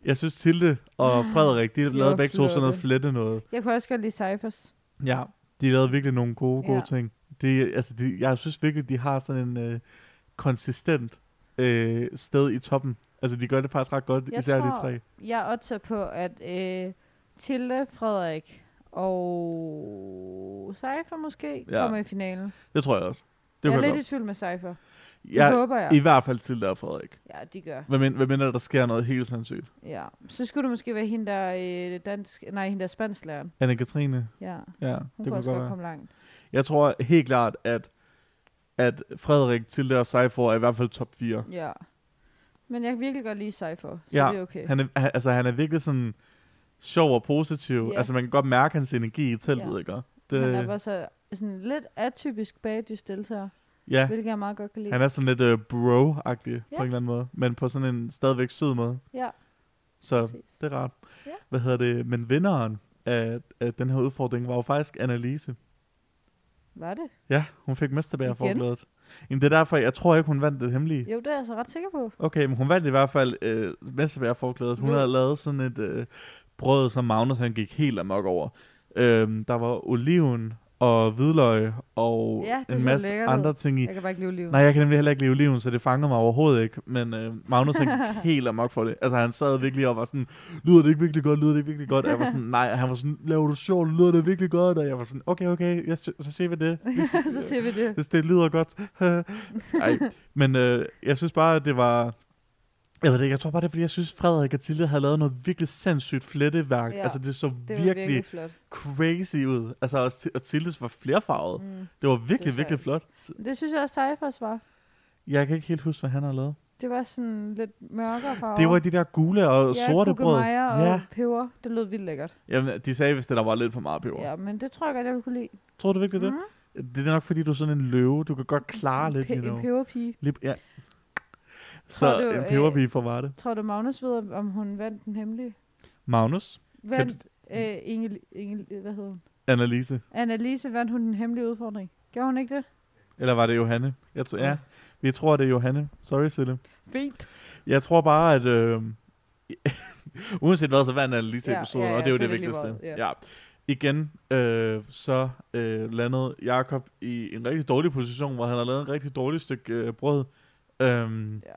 B: Jeg synes, Tilde og Frederik, de,
A: var
B: lavede begge to sådan noget
A: flotte.
B: flette noget.
A: Jeg kunne også godt lide Cyphers.
B: Ja, de lavede virkelig nogle gode, gode
A: Ja.
B: ja. ting. De, altså, de, jeg synes virkelig, de har sådan en øh, konsistent øh, sted i toppen. Altså, de gør det faktisk ret godt,
A: Jeg
B: især
A: tror-
B: de tre.
A: Jeg otter på, at øh, Tilde, Frederik og Cypher måske
B: Ja.
A: kommer i finalen.
B: Det tror jeg også. Det
A: jeg
B: kunne
A: er
B: jeg
A: lidt
B: godt.
A: i tvivl med Cypher. Det
B: Jeg,
A: håber jeg.
B: I hvert fald til der, Frederik.
A: Ja, de gør.
B: Hvad mindre, hvad mindre der sker noget helt sandsynligt?
A: Ja. Så skulle det måske være hende der øh, dansk, nej, hende der spansklæreren.
B: Anne-Katrine,
A: Ja, hun
B: ja, det
A: kunne også
B: kunne
A: godt
B: godt være.
A: komme langt.
B: Jeg tror helt klart, at, at Frederik, Tilde og Seifor er i hvert fald top 4.
A: Ja. Men jeg kan virkelig godt lide Cypher, så
B: Ja,
A: det er okay.
B: Han er, han- altså, han er virkelig sådan sjov og positiv.
A: Ja.
B: Yeah. Altså, man kan godt mærke hans energi i teltet,
A: Ja.
B: yeah. ikke? Og
A: Det... Han
B: Det,
A: er bare så sådan lidt atypisk bagdyst deltager,
B: ja,
A: hvilket jeg meget godt kan lide.
B: han er sådan lidt uh, bro-agtig yeah. på
A: Ja.
B: en eller anden måde, men på sådan en stadigvæk sød måde.
A: Ja,
B: Så
A: præcis.
B: det er rart.
A: Ja.
B: Hvad hedder det? Men vinderen af, af den her udfordring var jo faktisk Annelise.
A: Var det?
B: Ja, hun fik mesterbærer
A: Igen?
B: forbladet. Jamen, det er derfor, jeg tror ikke, hun vandt det hemmelige.
A: Jo, det er jeg så ret sikker på.
B: Okay, men hun vandt i hvert fald øh, Vesterbjergforklædet. Hun
A: Ved-
B: havde lavet sådan et øh, brød, som Magnus han gik helt amok over. Øhm, der var oliven og hvidløg og
A: Ja, det
B: en
A: så
B: masse
A: lækkert ud.
B: andre ting i.
A: Jeg kan bare ikke lide livet.
B: Nej, jeg kan nemlig heller ikke lide oliven, så det fangede mig overhovedet ikke. Men øh, Magnus han gik helt amok for det. Altså, han sad virkelig og var sådan, lyder det ikke virkelig godt, lyder det ikke virkelig godt? Og jeg var sådan, nej, han var sådan, laver du sjov, lyder det virkelig godt? Og jeg var sådan, okay, okay, ja, så, så ser vi det. Vi
A: så ser vi det.
B: hvis det lyder godt. Nej, men øh, jeg synes bare, at det var... Jeg ved det ikke, jeg tror bare, det er, fordi jeg synes, Frederik og Tilde havde lavet noget virkelig sindssygt fletteværk. Ja,
A: Ja,
B: altså, det så
A: Det
B: virkelig,
A: var virkelig flot.
B: crazy ud. Altså, og, Til- og Tildes var flerfarvet.
A: Mm.
B: Det var virkelig,
A: Det var
B: virkelig
A: sejt.
B: flot.
A: Det synes jeg også Cyphers var.
B: Jeg kan ikke helt huske, hvad han har lavet.
A: Det var sådan lidt mørkere farver.
B: Det var de der gule og
A: ja,
B: sorte brød.
A: Ja,
B: Ja,
A: og peber. Det lød vildt lækkert.
B: Jamen, de sagde, hvis det der var lidt for meget peber.
A: Ja, men det tror jeg godt, jeg ville kunne lide.
B: Tror du virkelig det?
A: Mhm.
B: Det er nok, fordi du er sådan en løve. Du kan godt klare Ah, lidt,
A: Pe-
B: you know.
A: En peberpige.
B: Lige- Ja. Så
A: du,
B: en
A: øh,
B: peberpige for var det.
A: Tror du, Magnus ved, om- om hun vandt den hemmelige?
B: Magnus?
A: Vandt øh, Inge, Inge, hvad hedder hun?
B: Annelise.
A: Annalise vandt hun den hemmelige udfordring. Gjorde hun ikke det?
B: Eller var det Johanne? Jeg tror, ja, vi tror, det er Johanne. Sorry, Sille.
A: Fint.
B: Jeg tror bare, at... Øh, uanset hvad, så vandt Annelise
A: Ja,
B: ja, episoden,
A: ja, ja,
B: og det er jo
A: så
B: det
A: er det lige
B: vigtigste.
A: meget,
B: ja. Igen, øh, så øh, landede Jakob i en rigtig dårlig position, hvor han har lavet en rigtig dårlig stykke øh, brød. Øhm,
A: Ja,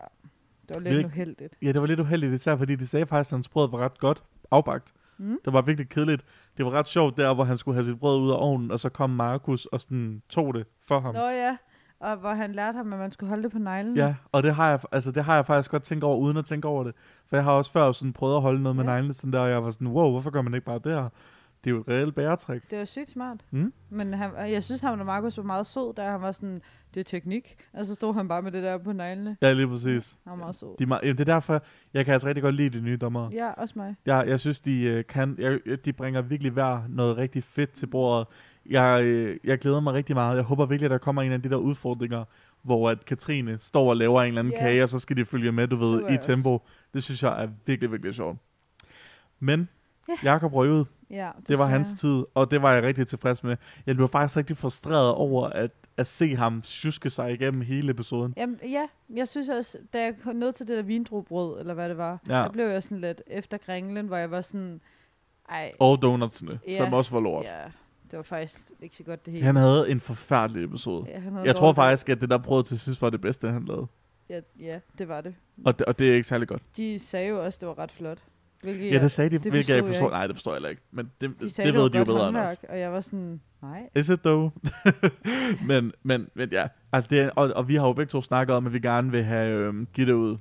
A: det var
B: Vil-
A: lidt uheldigt.
B: ja, det var lidt uheldigt, især fordi de sagde faktisk, at hans brød var ret godt afbagt.
A: Mm.
B: Det var virkelig kedeligt. Det var ret sjovt der, hvor han skulle have sit brød ud af ovnen, og så kom Markus og sådan tog det for ham.
A: Nå ja, og hvor han lærte ham, at man skulle holde det på neglen.
B: Ja, og det har, jeg, altså, det har jeg faktisk godt tænkt over, uden at tænke over det. For jeg har også før sådan prøvet at holde noget med
A: Ja.
B: neglene sådan der, og jeg var sådan, wow, hvorfor gør man ikke bare det her? Det er jo et reelt bæretrik.
A: Det var sygt smart.
B: Mm.
A: Men han, og jeg synes, han og Markus var meget sød, da han var sådan, det er teknik. Og så stod han bare med det der på neglene.
B: Ja, lige præcis.
A: Han var meget sød.
B: De, er meget- jamen, det er derfor, jeg kan altså rigtig godt lide de nye dommere.
A: Ja, også mig.
B: Jeg, jeg synes, de, øh, kan, jeg, de bringer virkelig hver noget rigtig fedt til bordet. Jeg, øh, jeg glæder mig rigtig meget. Jeg håber virkelig, at der kommer en af de der udfordringer, hvor at Katrine står og laver en eller anden
A: Ja.
B: yeah. kage, og så skal de følge med, du
A: Det
B: ved,
A: var
B: i
A: jeg også.
B: tempo. Det synes jeg er virkelig, virkelig sjovt. Men
A: Ja.
B: Jakob røg ud.
A: Ja,
B: Det var
A: siger
B: hans
A: jeg.
B: tid, og det var jeg rigtig tilfreds med. Jeg blev faktisk rigtig frustreret over at, at se ham sjuske sig igennem hele episoden.
A: Jamen, ja, jeg synes også, da jeg kom ned til det der vindruebrød, eller hvad det var,
B: Ja.
A: der blev jeg sådan lidt efter gringlen, hvor jeg var sådan, ej,
B: Og donutsene,
A: Ja.
B: som også var lort.
A: ja, det var faktisk ikke så godt det hele.
B: Han havde en forfærdelig episode.
A: ja, han havde
B: Jeg tror
A: dårligt-
B: faktisk, at det der brød til sidst var det bedste, han lavede.
A: Ja, ja, det var det.
B: Og det, og det er ikke særlig godt.
A: De sagde jo også, det var ret flot. Hvilket
B: Ja, det sagde de, hvilket
A: forstod
B: jeg
A: jeg
B: ikke forstår.
A: ikke.
B: Nej, det forstår jeg heller ikke. Men det,
A: de
B: det,
A: sagde,
B: det ved de
A: var
B: jo
A: godt
B: bedre end os.
A: håndværk, Og jeg var sådan, nej.
B: Is it though? men, men, men ja, altså det, er- og, og vi har jo begge to snakket om, at vi gerne vil have øhm, Gitte ud.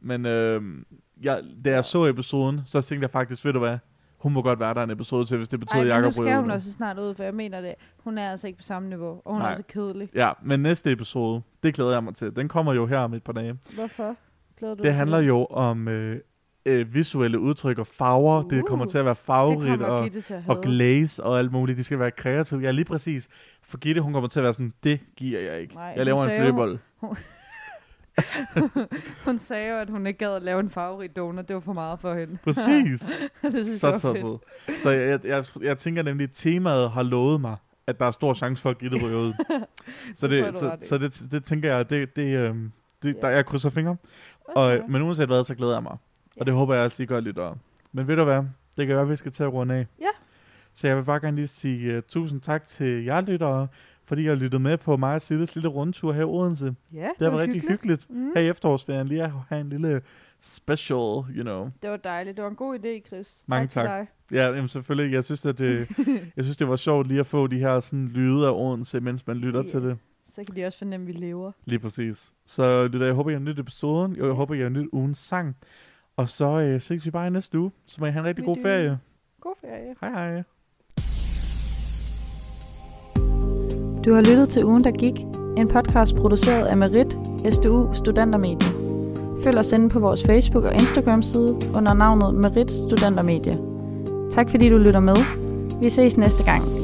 B: Men øhm, jeg, da jeg så episoden, så tænkte jeg faktisk, ved du hvad, hun må godt være der er en episode til, hvis det betyder,
A: Ej,
B: at
A: men nu
B: Jacob
A: skal
B: ryger ud
A: hun
B: nu.
A: også snart ud, for jeg mener det. Hun er altså ikke på samme niveau, og hun
B: Nej.
A: er altså kedelig.
B: Ja, men næste episode, det glæder jeg mig til. Den kommer jo her om et par dage.
A: Hvorfor? Glæder du dig
B: Det
A: til
B: handler jo om øh, øh, visuelle udtryk og farver. Uh, det
A: Uh,
B: kommer til at være
A: det
B: farverigt
A: kommer
B: og,
A: Gitte til at have.
B: og glaze og alt muligt. De skal være kreative. Ja, lige præcis. For Gitte, hun kommer til at være sådan, det giver jeg ikke.
A: Nej,
B: jeg
A: hun
B: laver en
A: sagde jo-
B: flybold.
A: Hun sagde jo, at hun ikke gad at lave en farverig donut. Det var for meget for hende.
B: Præcis.
A: det synes jeg
B: så
A: var fedt.
B: tosset. Så jeg, jeg, jeg, jeg tænker nemlig, at temaet har lovet mig, at der er stor chance for at Gitte ryger ud. så
A: Det tror jeg,
B: det,
A: du
B: så,
A: har ret i.
B: så det, det tænker jeg, det, det, øhm, det,
A: Ja.
B: der, jeg krydser fingre.
A: Også
B: Og, øh,
A: godt.
B: men uanset hvad, så glæder jeg mig.
A: Ja.
B: Og det håber jeg også, I gør lidt over. Men ved du hvad? Det kan være, at vi skal til at runde af.
A: Ja.
B: Så jeg vil bare gerne lige sige uh, tusind tak til jer lyttere, fordi I har lyttet med på mig og Silles lille rundtur her i Odense. Det,
A: ja, det,
B: har været rigtig hyggeligt.
A: Mm.
B: Her i efterårsferien lige at have en lille special, you know.
A: Det var dejligt. Det var en god idé, Chris.
B: Mange
A: tak.
B: tak.
A: Til dig.
B: Ja, jamen selvfølgelig. øh, Jeg synes, at det, jeg synes, det var sjovt lige at få de her sådan, lyde af Odense, mens man lytter
A: Ja.
B: til det.
F: Så kan de også fornemme, at vi lever.
B: Lige præcis. Så lytter, jeg håber, I har nyt episoden. Jeg håber, I har nyt ugens sang. Og så øh, ses vi bare i næste uge. Så må I have en rigtig
F: Vi
B: god
F: do.
B: ferie.
F: God ferie.
B: Hej hej.
A: Du har lyttet til Ugen, der gik, en podcast produceret af Merit, SDU Studentermedie. Følg os inde på vores Facebook og Instagram side under navnet Merit Studentermedie. Tak fordi du lytter med. Vi ses næste gang.